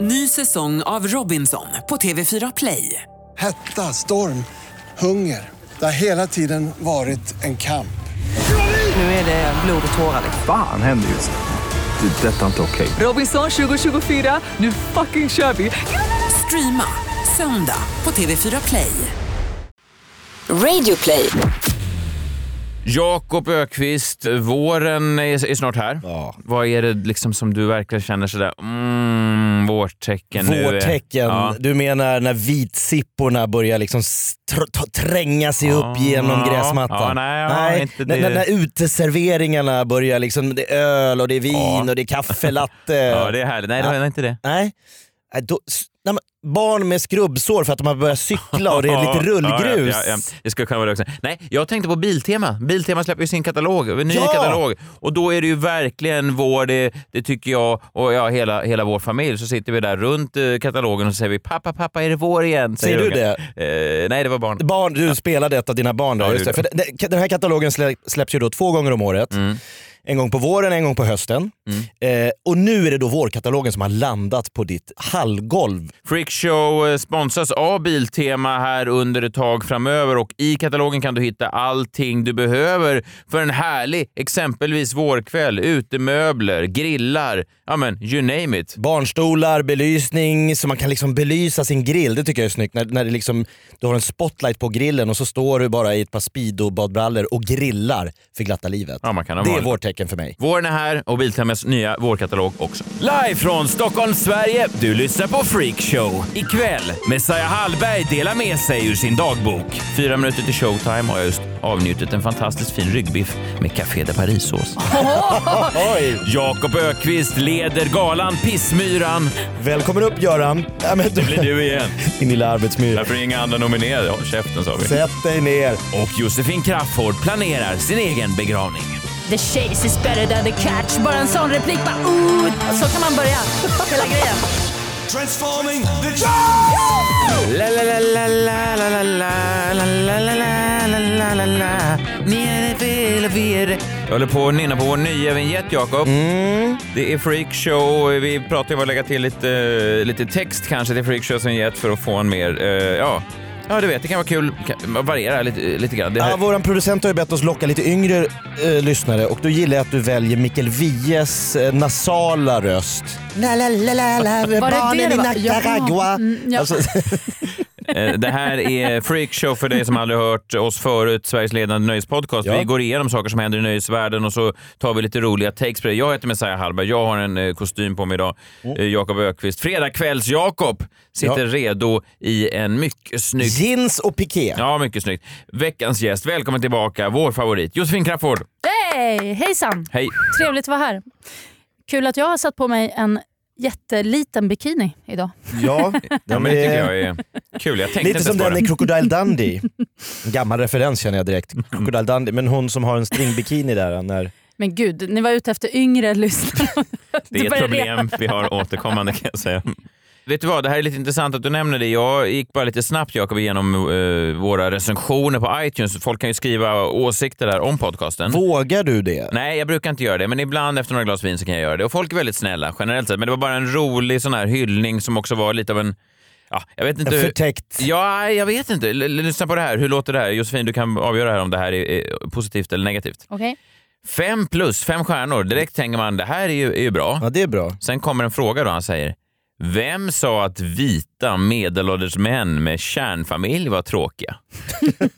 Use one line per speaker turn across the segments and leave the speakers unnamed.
Ny säsong av Robinson på TV4 Play.
Hetta, storm, hunger. Det har hela tiden varit en kamp.
Nu är det blod och tårar.
Fan händer just nu. Det. är Detta är inte okej.
Robinson 2024, nu fucking kör vi! Streama söndag på TV4 Play.
Radio play.
Jakob Ökvist, våren är, är snart här. Vad är det liksom som du verkligen känner sådär, mm, vårtecken nu? är-
Vårtecken.
Ja.
Du menar när vitsipporna börjar liksom str- t- tränga sig upp genom
ja.
gräsmattan?
Ah, Ja, nej, ja, inte
när,
det.
när, när uteserveringarna börjar liksom, det är öl och det är vin och det är kaffelatte.
Ja, det är härligt. Nej, det var inte det.
Nej. Nej, då, s- nej, men barn med skrubbsår för att de har börjat cykla och det är lite rullgrus.
Ja, ja, ja, ja. Det skulle kunna vara det också. Nej, jag tänkte på Biltema. Biltema släpper ju sin katalog, en ny
Ja!
katalog. Och då är det ju verkligen vår, det, det tycker jag och ja, hela, hela vår familj, så sitter vi där runt eh, katalogen och så säger vi “pappa, pappa, är det vår igen?”
Säger du
ungen. Eh, nej, det var barn.
Barn, du spelade ett av dina barn då.
Ja,
just
det
det. För den- den här katalogen slä- släpps ju då två gånger om året.
Mm.
En gång på våren, en gång på hösten. Eh, och nu är det då vårkatalogen som har landat på ditt hallgolv.
Freakshow eh, sponsras av Biltema här under ett tag framöver och i katalogen kan du hitta allting du behöver för en härlig, exempelvis vårkväll, utemöbler, grillar, ja men you name it.
Barnstolar, belysning, så man kan liksom belysa sin grill. Det tycker jag är snyggt. När, när det liksom, du har en spotlight på grillen och så står du bara i ett par Speedo-badbrallor och grillar för glatta livet.
Ja, man kan ha
det är
vanligt.
vårtecken för mig.
Våren är här och Biltemas nya vårkatalog också. Live från Stockholm, Sverige. Du lyssnar på Freakshow. Ikväll, Messiah Hallberg delar med sig ur sin dagbok. Fyra minuter till showtime har jag just avnjutit en fantastiskt fin ryggbiff med Café de Paris-sås.
Oj!
Jakob Ökvist leder galan Pissmyran.
Välkommen upp Göran! Ja, men,
Det blir du igen.
Din lilla arbetsmyr.
Därför är inga andra nominerade. Håll käften sa vi.
Sätt dig ner.
Och Josefin Crafoord planerar sin egen begravning.
The chase is better than the catch. Bara en sån replik bara ooh. Så kan man börja hela grejen.
Transforming the
La la la la la la la la la la la la la la la Nere vid Elvira. Jag håller på att nynna på vår nya vignett, Jakob. Det är freakshow. Vi pratar ju om att lägga till lite, lite text kanske till freakshows vignett för att få en mer, eh, ja, ja du vet, det kan vara kul. Kan variera lite, lite grann. Det här-
Ja, våran producent har ju bett oss locka lite yngre eh, lyssnare och då gillar jag att du väljer Mikael Wiehes eh, nasala röst. La, la, la, la, la,
Var det det
barnen
det
i
var? Ja.
Nicaragua.
Mm, ja.
Alltså,
Eh, Det här är Freakshow för dig som aldrig hört oss förut, Sveriges ledande nöjespodcast.
Ja.
Vi går igenom saker som händer i nöjesvärlden och så tar vi lite roliga takes på det. Jag heter Messiah Hallberg, jag har en eh, kostym på mig idag. Eh, Jakob Ökvist. Fredagskälls-Jakob sitter
Ja.
redo i en mycket snygg...
Jeans och piké.
Ja, mycket snyggt. Veckans gäst, välkommen tillbaka, vår favorit Josefin Crafoord.
Hej! Hejsan!
Hej!
Trevligt att vara här. Kul att jag har satt på mig en jätteliten bikini idag.
Ja,
Ja, men det tycker jag är kul. Jag tänkte
Lite
inte
som
ens på
den i
det.
Crocodile Dundee. En gammal referens känner jag direkt. Crocodile Dundee, men hon som har en stringbikini där.
Mm.
När...
Men gud, ni var ute efter yngre lyssnare.
Det är ett
börjar
problem vi har återkommande kan jag säga. Vet du vad, det här är lite intressant att du nämner det. Jag gick bara lite snabbt Jakob igenom eh, våra recensioner på iTunes. Folk kan ju skriva åsikter där om podcasten.
Vågar du det?
Nej, jag brukar inte göra det, men ibland efter några glas vin så kan jag göra det. Och folk är väldigt snälla generellt sett. Men det var bara en rolig sån här hyllning som också var lite av en... Ja, jag vet inte
En
hur-
förtäckt...
Ja, jag vet inte. L- l- lyssna på det här. Hur låter det här? Josefin, du kan avgöra här om det här är, är positivt eller negativt.
Okej.
Fem plus, fem stjärnor. Direkt tänker man det här är ju, är ju bra.
Ja, det är bra.
Sen kommer en fråga då han säger vem sa att vita medelålders män med kärnfamilj var tråkiga?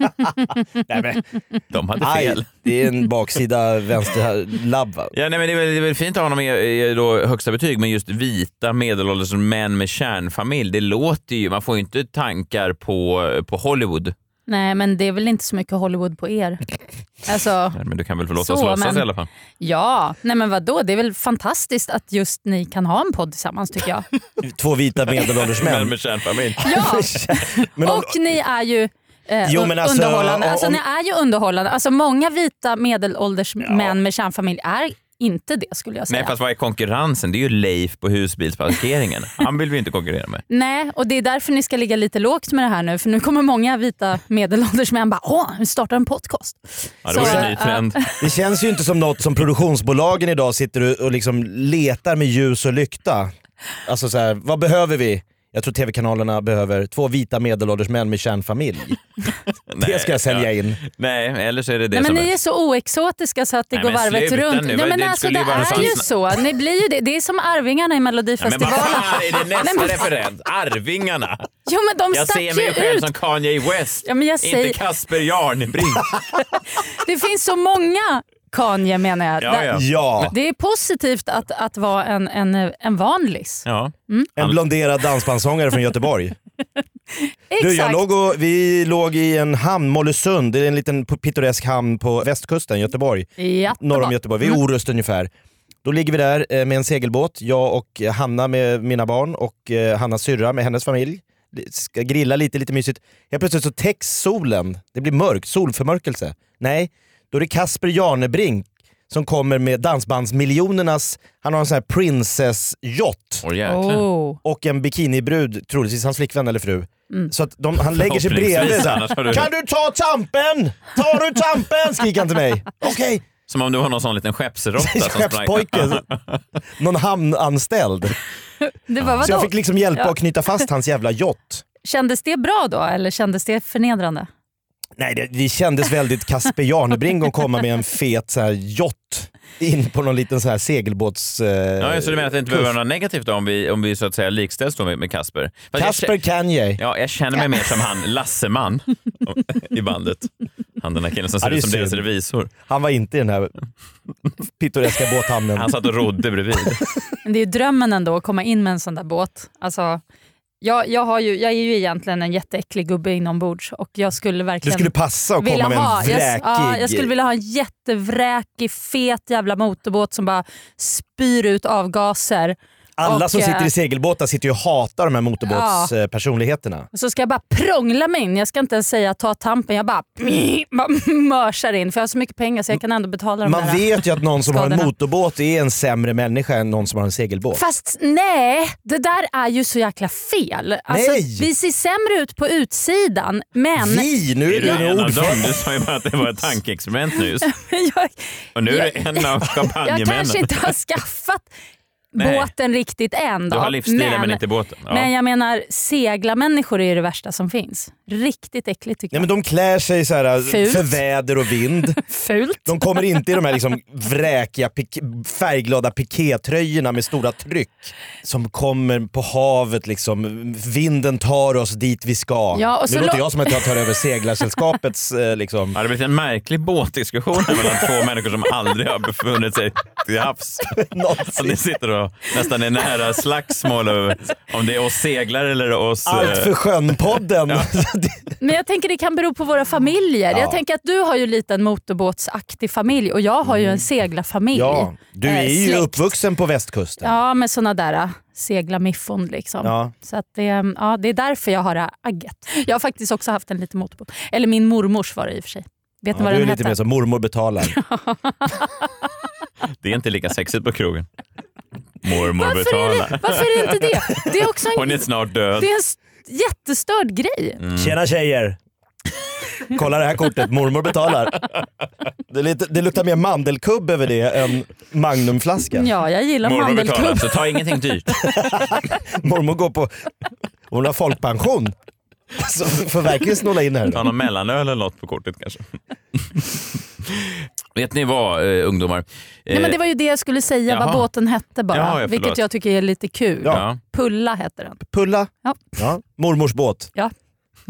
Nej, men,
De hade fel.
aj, det är en baksida vänster här, labb va?
Ja, nej, men det, är väl, det är väl fint att ha honom i, i då högsta betyg, men just vita medelålders män med kärnfamilj, det låter ju... Man får ju inte tankar på, på Hollywood.
Nej, men det är väl inte så mycket Hollywood på er. Alltså,
Men du kan väl få låta oss
Så,
låtsas
men-
i alla fall.
ja. Nej men vadå, det är väl fantastiskt att just ni kan ha en podd tillsammans tycker jag.
Två vita medelålders
Män
män.
med kärnfamilj.
Ja!
Men om,
och ni är ju eh,
Jo,
un-
men alltså,
underhållande. Alltså,
om-
ni är ju underhållande. Alltså, många vita medelålders män med kärnfamilj är inte det skulle jag säga.
Nej, fast vad är konkurrensen? Det är ju Leif på husbilsparkeringen. Han vill vi inte konkurrera med.
Nej, och det är därför ni ska ligga lite lågt med det här nu. För nu kommer många vita medelålders män bara “Åh, vi startar en podcast”.
Ja, det
Så,
var en ny
äh,
trend.
det känns ju inte som något som produktionsbolagen idag sitter och- och liksom letar med ljus och lykta. Alltså så här, vad behöver vi? Jag tror tv-kanalerna behöver två vita medelålders män med kärnfamilj. det ska jag sälja in.
Nej, eller så är det det
Nej, men
som
ni
är...
är så oexotiska så att det
Nej,
går
men
varvet
sluta
runt.
nu.
Nej,
Vad-
men
det
alltså,
skulle
det
ju vara
är
någon
ju
slags-
så. Ni blir ju det. det är som Arvingarna i
Ja, men vad
Melodifestivalen.
fan är det
Nej,
nästa
men-
referens? Arvingarna!
Jo men de
Jag
stack
ser mig
ju
själv
ut.
som Kanye West,
Ja, men jag säger-
inte Kasper Jarnbrink.
Det finns så många Kanye menar jag.
Ja, ja.
Ja,
Det är positivt att, att vara en, en, en vanlis.
Ja.
en blonderad dansbandssångare från Göteborg.
Exakt.
Du, jag låg och, vi låg i en hamn, Mollösund, det är en liten pittoresk hamn på västkusten, Göteborg.
Jättebra.
norr om Göteborg,
Mm.
vid Orust ungefär. Då ligger vi där eh, med en segelbåt, jag och eh, Hanna med mina barn och eh, Hannas syrra med hennes familj. Li- Ska grilla lite, lite mysigt. Helt plötsligt så täcks solen, det blir mörkt, solförmörkelse. Nej, då är det Kasper Janebrink som kommer med dansbandsmiljonernas, han har en sån här princess-yacht
Åh, jäklar.
Oh.
och en bikinibrud, troligtvis hans flickvän eller fru. Så att de, han lägger sig bredvid.
Förhoppningsvis,
så här,
Mm. annars har du-
Kan du ta tampen? Tar du tampen? Skriker han till mig. Okej.
Som om du var någon sån liten skeppsråtta som sprang-
Skeppspojke. Någon hamnanställd.
Det var,
Så
vadå?
jag fick liksom hjälpa att knyta fast hans jävla yacht.
Kändes det bra då eller kändes det förnedrande?
Nej, det, det kändes väldigt Casper Janebring att komma med en fet så här yacht in på någon liten så här segelbåts... Eh,
Ja, så du menar att det inte behöver vara något negativt då, om vi, om vi så att säga likställs då med, med Kasper? Fast jag
Casper
kä-
Kanye.
Ja, jag känner mig mer som han Lasseman i bandet. Han den där killen som
Ja,
ser
det är
ut som deras
synd.
revisor.
Han var inte i den här pittoreska båthamnen.
Han satt och rodde bredvid.
Men det är ju drömmen ändå att komma in med en sån där båt. Alltså, jag, jag, har ju, jag är ju egentligen en jätteäcklig gubbe inombords och jag skulle
Det
verkligen
skulle passa att
vilja
komma med en
ha. Jag,
vräkig...
ja, jag skulle vilja ha en jättevräkig, fet jävla motorbåt som bara spyr ut avgaser.
Alla
och,
som sitter
eh,
i segelbåtar sitter ju och hatar de här motorbåtspersonligheterna.
Och så ska jag bara prångla mig in. Jag ska inte ens säga ta tampen. Jag bara, bara mörsar in. För jag har så mycket pengar så jag kan ändå betala de
Man
där.
vet ju att någon som har en
skadorna.
motorbåt är en sämre människa än någon som har en segelbåt.
Fast nej, det där är ju så jäkla fel. Alltså,
Nej!
Vi ser sämre ut på utsidan men...
Vi? Nu
Är
är
du
det
en
en
av
ordförande.
dem? Du sa ju bara att det var ett tankeexperiment nyss.
jag,
Och nu är du en av
jag
champagnemännen.
kanske inte har skaffat
Nej.
båten riktigt än. Då,
Du har livsstilen men, inte båten. Ja.
Men jag menar, segla människor är ju det värsta som finns. Riktigt äckligt tycker
Nej,
jag.
men de klär sig så här
Fult.
för väder och vind.
Fult.
De kommer inte i de här liksom vräkiga, pik- färgglada pikétröjorna med stora tryck. Som kommer på havet, liksom. vinden tar oss dit vi ska.
Ja, och så
nu låter
lo-
jag som att jag tar över seglarsällskapets... Eh, liksom.
Ja, det har blivit en märklig båtdiskussion här mellan två människor som aldrig har befunnit sig till havs. Så ni sitter och nästan är nära slagsmål över om det är oss seglare eller oss...
Allt
eh,
för sjön-podden.
Men jag tänker det kan bero på våra familjer. Jag tänker att du har ju lite en motorbåtsaktig familj och jag har ju en seglarfamilj.
ja, du
Eh,
är ju
släkt.
uppvuxen på västkusten.
Ja, med såna där äh, seglamiffon liksom.
Ja.
Så att det, mm, ja, det är därför jag har det här agget. Jag har faktiskt också haft en liten motorbåt. Eller min mormors var det i och för sig. Vet
Ja,
ni vad
du är
den
lite
hette?
mer som mormor betalar.
Det är inte lika sexigt på krogen. Mormor
Varför är,
betalar.
det, varför är det inte det? Det är också en,
Hon är snart död.
det är en s- jättestörd grej.
Tjena tjejer! Kolla det här kortet, mormor betalar. Det, är lite, det luktar mer mandelkubb över det än magnumflaska.
Ja, jag gillar
Mormor betalar, alltså.
mandelkubb.
så ta ingenting dyrt.
Mormor går på... Hon har folkpension. Så får verkligen snåla in här.
Ta någon mellanöl eller något på kortet kanske. Vet ni vad, eh, ungdomar?
Nej, men
Eh,
det var ju det jag skulle säga,
Jaha.
vad båten hette bara.
Ja, ja, förlåt.
vilket jag tycker är lite kul.
Ja.
Pulla hette den.
Pulla.
Ja.
Mormors båt.
Ja.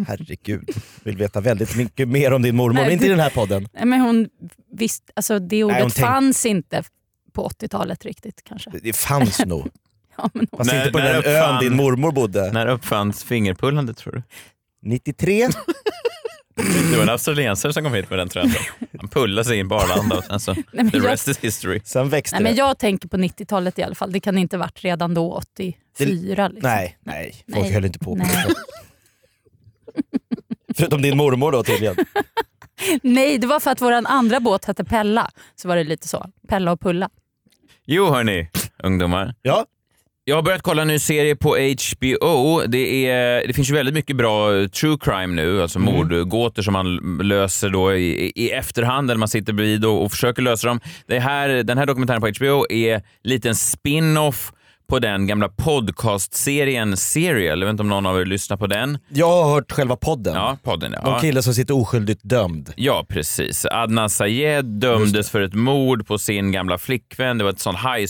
Herregud. Vill veta väldigt mycket mer om din mormor, men inte i den här podden.
Nej, men hon visst, alltså det ordet
hon tänk-
fanns inte på 80-talet riktigt kanske.
Det fanns nog.
Ja, men,
Fast
När-
inte på
när
den ön
uppfann-
din mormor bodde.
När uppfanns fingerpullandet tror du?
93?
Det var en australiensare som kom hit med den trenden. Han pullade sig in på Arlanda och sen så,
men
the
jag-
rest is history.
Sen växte
nej, men
det.
jag tänker på 90-talet i alla fall. Det kan inte varit redan då 84. Liksom.
Nej, nej. Folk
Nej.
höll inte på.
Nej.
Förutom din mormor då tydligen.
nej, det var för att vår andra båt hette Pella. Så var det lite så. Pella och Pulla.
Jo hörni, ungdomar.
Ja.
Jag har börjat kolla en ny serie på HBO. Det, är, det finns ju väldigt mycket bra eh, true crime nu, alltså
Mm.
mordgåtor som man l- löser då i, i efterhand eller man sitter bredvid och, och försöker lösa dem. Det här, den här dokumentären på HBO är lite en spin-off på den gamla podcastserien Serial. Jag vet inte om någon av er lyssnar på den.
Jag har hört själva podden.
Ja, podden ja.
Någon kille som sitter oskyldigt dömd.
Ja, precis. Adnan Sayed dömdes för ett mord på sin gamla flickvän. Det var ett sånt high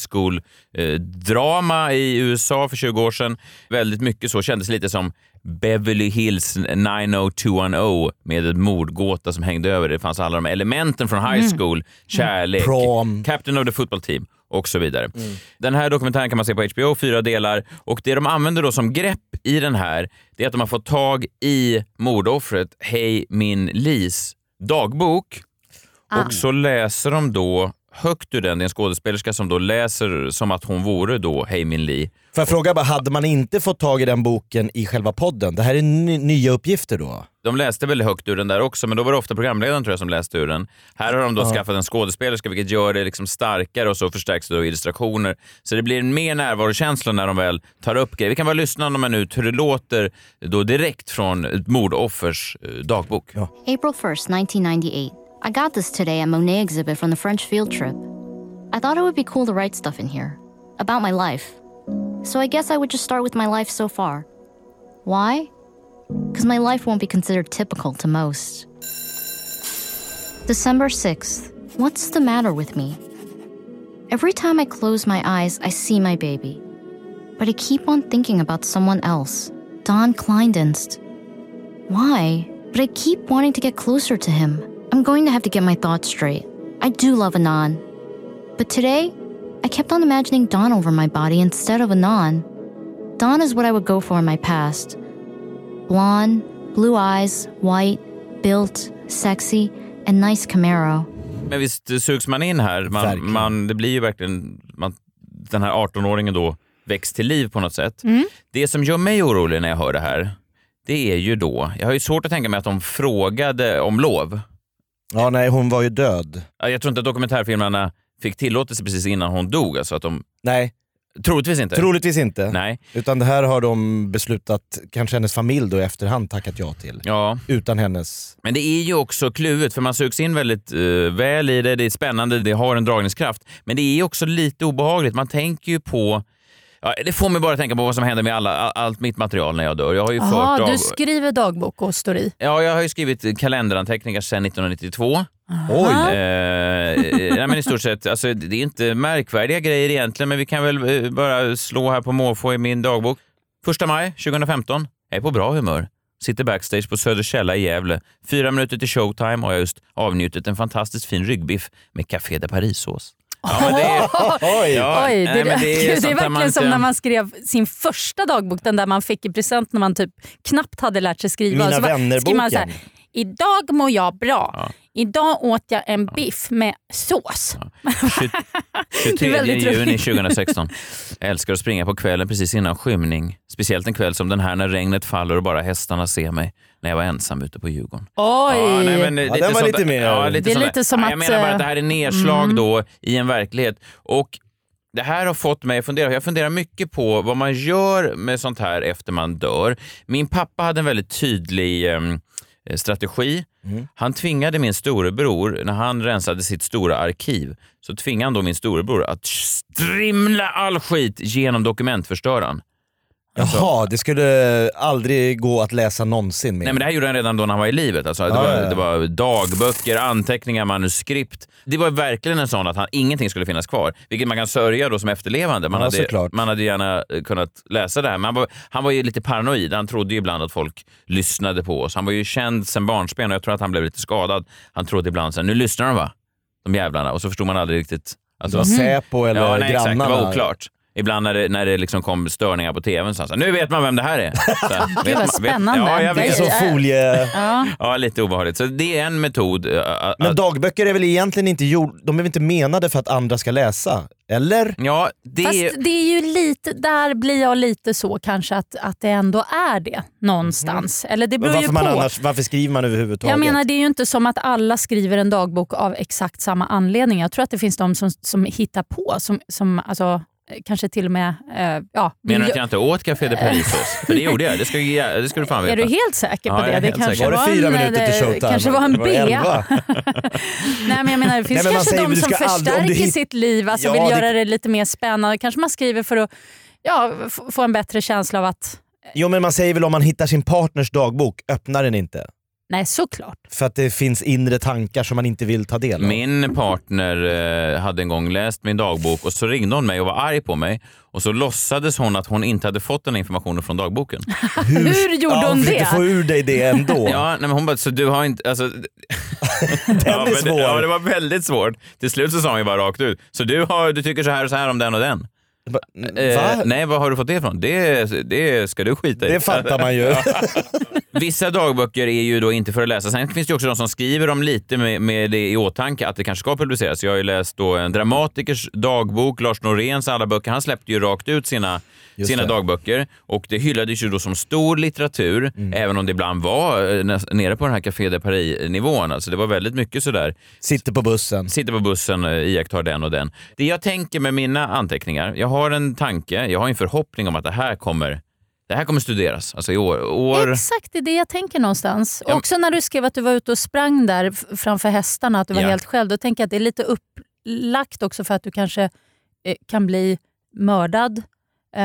school-drama i USA för 20 år sedan. Väldigt mycket så. Kändes lite som Beverly Hills 90210 med ett mordgåta som hängde över det. Det fanns alla de elementen från high school. Kärlek,
Prom.
Captain of the football team och så vidare. Den här dokumentären kan man se på HBO, fyra delar. Och det de använder då som grepp i den här, det är att de har fått tag i mordoffret Hej min Lis dagbok. Och så läser de då högt ur den. Det är en skådespelerska som då läser som att hon vore då Hej min Li.
Får jag fråga bara, hade man inte fått tag i den boken i själva podden? Det här är ny, nya uppgifter då?
De läste väl högt ur den där också, men då var det ofta programledaren tror jag som läste ur den. Här har de då skaffat en skådespelerska vilket gör det liksom starkare och så förstärks det av illustrationer. Så det blir mer närvarokänsla när de väl tar upp grejer. Vi kan bara lyssna någon minut hur det låter då direkt från ett mordoffers eh, dagbok.
April 1st, 1998. I got this today at Monet exhibit from the French field trip. I thought it would be cool to write stuff in here about my life. So I guess I would just start with my life so far. Why? Because my life won't be considered typical to most. December 6th. What's the matter with me? Every time I close my eyes, I see my baby. But I keep on thinking about someone else Don Kleindienst. Why? But I keep wanting to get closer to him. I'm going to have to get my thoughts straight. I do love Anon. But today, I kept on imagining Don over my body instead of Anon. Don is what I would go for in my past blonde, blue eyes, white, built, sexy, and nice Camaro.
Men visst sugs man in här. Man,
Verkligen.
man, det blir ju verkligen man, den här 18-åringen då väcks till liv på något sätt. Det som gör mig orolig när jag hör det här, det är ju då, jag har ju svårt att tänka mig att de frågade om lov.
Ja, nej hon var ju död.
Ja, Jag tror inte att dokumentärfilmarna fick tillåtelse precis innan hon dog. Alltså att de,
Nej,
troligtvis inte.
troligtvis inte.
Nej.
Utan det här har de beslutat, kanske hennes familj då i efterhand tackat ja till.
Ja,
Utan hennes...
men det är ju också kluvet för man sugs in väldigt eh, väl i det. Det är spännande, det har en dragningskraft. Men det är också lite obehagligt. Man tänker ju på Ja, det får mig bara att tänka på vad som händer med alla, all- allt mitt material när jag dör. Jag har ju
Jaha,
fört
du
dag...
skriver dagbok och står i.
Ja, jag har ju skrivit kalenderanteckningar sedan 1992. Eh,
Oj!
eh, nej, men i stort sett, alltså, det är inte märkvärdiga grejer egentligen, men vi kan väl eh, bara slå här på måfå i min dagbok. Första maj 2015. Jag är på bra humör. Sitter backstage på Söderkälla i Gävle. Fyra minuter till showtime har jag just avnjutit en fantastiskt fin ryggbiff med Café de Paris-sås. Ja, men det är...
Oj.
Ja,
Oj,
nej,
det,
men
det, är
sånt där man
verkligen som
inte-
när man skrev sin första dagbok, den där man fick i present när man typ knappt hade lärt sig skriva.
Mina
Och så bara-
vänner-boken.
skrev man så här, Idag mår jag bra. Idag åt jag en biff med sås.
23
Det är väldigt
juni
roligt.
2016. Jag älskar att springa på kvällen precis innan skymning. Speciellt en kväll som den här när regnet faller och bara hästarna ser mig när jag var ensam ute på Djurgården.
Oj!
Ja, nej, men lite
den var
sånt-
lite mer-
Ja, lite
Det är
sånt-
lite som
ja, Jag
att,
menar bara att
eh,
det här är nedslag då i en verklighet. Och det här har fått mig att fundera. Jag funderar mycket på vad man gör med sånt här efter man dör. Min pappa hade en väldigt tydlig em, eh, strategi.
Mm.
Han tvingade min storebror, när han rensade sitt stora arkiv, så tvingade han då min storebror att strimla all skit genom dokumentförstöraren.
Jaha, det skulle aldrig gå att läsa någonsin mer.
Nej, men det här gjorde han redan då när han var i livet. Alltså, det,
Ja,
var,
ja, ja.
det var dagböcker, anteckningar, manuskript. Det var verkligen en sån att han, ingenting skulle finnas kvar, vilket man kan sörja då som efterlevande. Man,
Ja,
hade,
såklart.
man hade gärna eh, kunnat läsa det här. Men han, var, han var ju lite paranoid. Han trodde ju ibland att folk lyssnade på oss. Han var ju känd sen barnsben och jag tror att han blev lite skadad. Han trodde ibland så här, nu lyssnar de va? De jävlarna. Och så förstod man aldrig riktigt. att
Det var Säpo eller
Mm. ja, nej, exakt.
grannarna.
Det var oklart. Ibland när det, när det liksom kom störningar på tvn så han sa, nu vet man vem det här är. Så, här,
vad
vet man-
spännande.
Vet, ja, jag
Det är
vet.
Så folie...
Ja.
Ja, lite obehagligt. Så det är en metod. eh, att-
Men
att-
dagböcker är väl egentligen inte gjord, de är väl inte menade för att andra ska läsa? Eller?
ja, det är...
Fast det är ju lite, där blir jag lite så kanske att, att det ändå är det
Mhm.
någonstans. Eller det beror ju
Varför,
på.
man annars, varför skriver man överhuvudtaget?
Jag menar det är ju inte som att alla skriver en dagbok av exakt samma anledning. Jag tror att det finns de som, som hittar på, som, som alltså, eh, kanske till och med... Eh, ja,
Menar du att
jag-
jag inte åt Café de Paris? För det gjorde jag. Det ska, ju- det ska du fan veta.
Är du helt säker på
Ja, jag
det?
är
Det
helt
kanske
säker.
Var det
var
fyra
en,
minuter till
eh,
showtime?
kanske var en
det
B.
elva?
Nej men jag menar det finns
men man
kanske
säger
de
väl, du
som
ska aldrig-
förstärker
om det-
sitt liv, alltså
Ja,
vill
det-
göra det lite mer spännande. Kanske man skriver för att ja, f- få en bättre känsla av att,
Jo men man säger väl om man hittar sin partners dagbok, öppna den inte.
nej såklart.
För att det finns inre tankar som man inte vill ta del av.
Min partner eh, hade en gång läst min dagbok och så ringde hon mig och var arg på mig och så låtsades hon att hon inte hade fått den här informationen från dagboken.
Hur, gjorde
ja,
hon
försökte
det?
få ur dig det ändå.
Ja, nej, men hon bara, så du har inte... Alltså, den ja,
är
men det-
svår.
Ja, det var väldigt svårt. Till slut så sa hon ju bara rakt ut. Så du, har, du tycker så här och så här om den och den.
Va?
Eh, nej, var har du fått det ifrån? Det, det ska du skita i.
Det fattar man ju.
Vissa dagböcker är ju då inte för att läsa. Sen finns det ju också de som skriver om lite med, med det i åtanke att det kanske ska publiceras. Jag har ju läst då en dramatikers dagbok, Lars Noréns alla böcker. Han släppte ju rakt ut sina,
Just
sina
det.
dagböcker och det hyllades ju då som stor litteratur,
Mm.
även om det ibland var eh, näs- nere på den här Café de Paris-nivån. Alltså det var väldigt mycket sådär
Sitter på bussen.
sitter på bussen, eh, iakttar den och den. Det jag tänker med mina anteckningar, jag har en tanke, jag har en förhoppning om att det här kommer, det här kommer studeras. Alltså i år. år
Exakt, det är det jag tänker någonstans.
Ja, men-
Också när du skrev att du var ute och sprang där f- framför hästarna, att du var
Ja.
helt själv. Då tänker jag att det är lite upplagt också för att du kanske eh, kan bli mördad. Eh,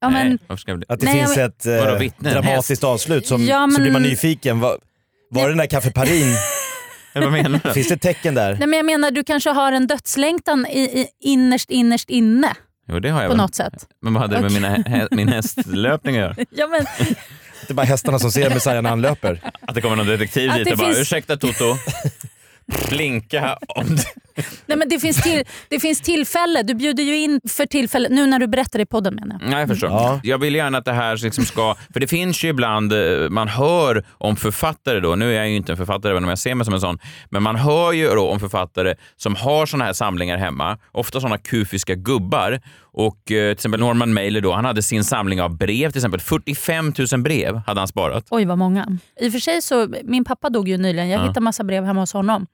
ja,
nej,
men,
varför ska jag bli...
Att det
Nej,
finns
men-
ett eh,
Vadå, vittnen?
dramatiskt avslut som,
Ja,
så
men-
blir man nyfiken. Var, var det den där kaffeparin?
Vad menar du?
finns det tecken där?
nej, men jag menar, du kanske har en dödslängtan i, i, innerst, innerst inne
Jo, det har jag
på
väl.
något sätt.
Men vad hade det med
Okej.
mina, hä- min hästlöpning att göra?
Ja, men,
Det är bara hästarna som ser Messiah när han löper.
Att det kommer någon detektiv
Att
dit
det
och bara
finns-
“ursäkta Toto, blinka om du...”
nej, men det, finns till, det finns tillfälle. Du bjuder ju in för tillfälle. Nu när du berättar i podden menar jag.
Nej, jag förstår.
Ja.
Jag vill gärna att det här liksom ska... För det finns ju ibland, eh, man hör om författare då, nu är jag ju inte en författare även om jag ser mig som en sån, men man hör ju då om författare som har såna här samlingar hemma, ofta såna kufiska gubbar. Och eh, till exempel Norman Mailer då, han hade sin samling av brev, till exempel 45 000 brev hade han sparat.
Oj vad många. I och för sig så, min pappa dog ju nyligen. Jag hittade massa brev hemma hos honom.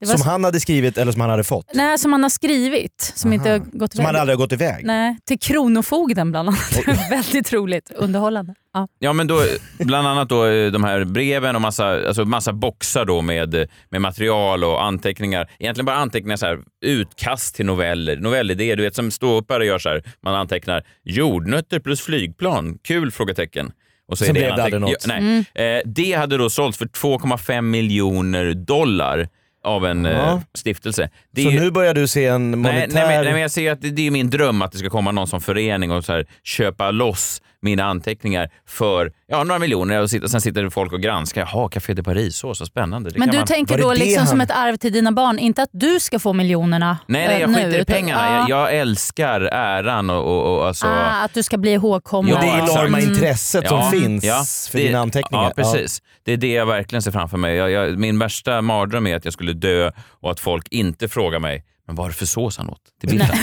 Det var
Som han hade skrivit eller som han hade fått.
Nej, som han har skrivit. Som inte har gått
Som han
iväg.
aldrig har gått iväg.
Nej, till Kronofogden bland annat. Väldigt roligt. Underhållande. Ja.
Ja, men då, bland annat då eh, de här breven och massa, alltså massa boxar då med, med material och anteckningar. Egentligen bara anteckningar, så här, utkast till noveller, novellidéer. Du vet som ståuppare gör så här, man antecknar jordnötter plus flygplan, kul? frågetecken. Och så
Sen
en
blev det aldrig
anteckning-
något.
Ja, nej. Eh, det hade då sålts för 2,5 miljoner dollar av en eh,
Ja.
stiftelse. Det
Så
är ju-
nu börjar du se en
Nej,
monetär...
nej, men, nej, men jag ser att det, det är min dröm att det ska komma någon som förening och så här, köpa loss mina anteckningar för ja, några miljoner och sitta, sen sitter det folk och granskar. Jaha, Café de Paris, så, så spännande. Det
Men
kan
du
man...
tänker
Var det
då
det
liksom
han-
som ett arv till dina barn. Inte att du ska få miljonerna
Nej, nej, jag
eh, nu,
skiter i
utan-
pengarna.
Ah,
Jag, jag älskar äran och, och, och alltså...
ah, att du ska bli ihågkommen.
Och det
Ja, exakt.
enorma intresset som finns för
det-
dina anteckningar.
Ja, precis. Det är det jag verkligen ser framför mig. Jag, jag, min värsta mardröm är att jag skulle dö och att folk inte frågar mig “men vad är det för sås han åt till bilden?”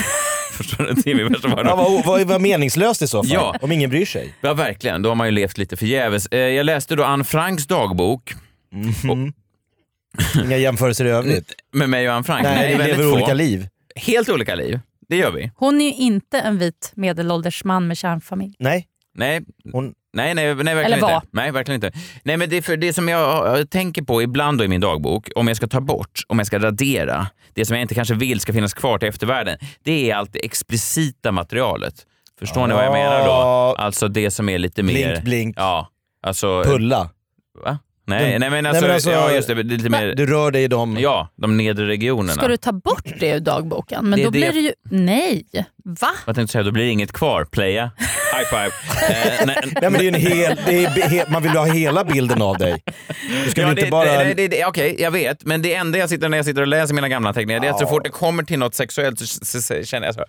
Förstår du? Det är min värsta mardröm.
Ja, vad, vad, vad meningslöst i så fall,
Ja.
om ingen bryr sig.
Ja, verkligen. Då har man ju levt lite förgäves. Eh, Jag läste då Anne Franks dagbok
Inga jämförelser i övrigt.
med mig och Anne Frank.
Mm. Nej, vi
Mm. väldigt
lever
få.
olika liv.
Helt olika liv. Det gör vi.
Hon är ju inte en vit medelålders man med kärnfamilj.
Nej,
Nej,
hon...
nej, nej, nej verkligen
Eller
inte.
var.
Nej, verkligen inte. Nej, men det, är för det som jag eh, tänker på ibland då i min dagbok, om jag ska ta bort, om jag ska radera, det som jag inte kanske vill ska finnas kvar till eftervärlden, det är allt det explicita materialet. Förstår ni vad jag menar då?
Ja.
Alltså det som är lite mer...
Blink, blink.
Ja, alltså...
pulla.
Va? Nej,
Den-
nej, men alltså,
men alltså-
ja, just det, lite mer...
Du rör dig i dem.
Ja, de nedre regionerna.
Ska du ta bort det ur dagboken? Men
Det är
då blir
det-
det ju... Nej! Va?
Jag tänkte säga, då blir det inget kvar. Playa. High five. Eh, nej,
Nej, men det är ju en hel, det är, be- he- man vill ju ha hela bilden av dig. Du ska
ja,
väl
det-
inte bara...
det- det- det- Okej, jag vet. Men det enda jag sitter när jag sitter och läser mina gamla anteckningar, det är att så fort det kommer till något sexuellt så, så, så känner jag så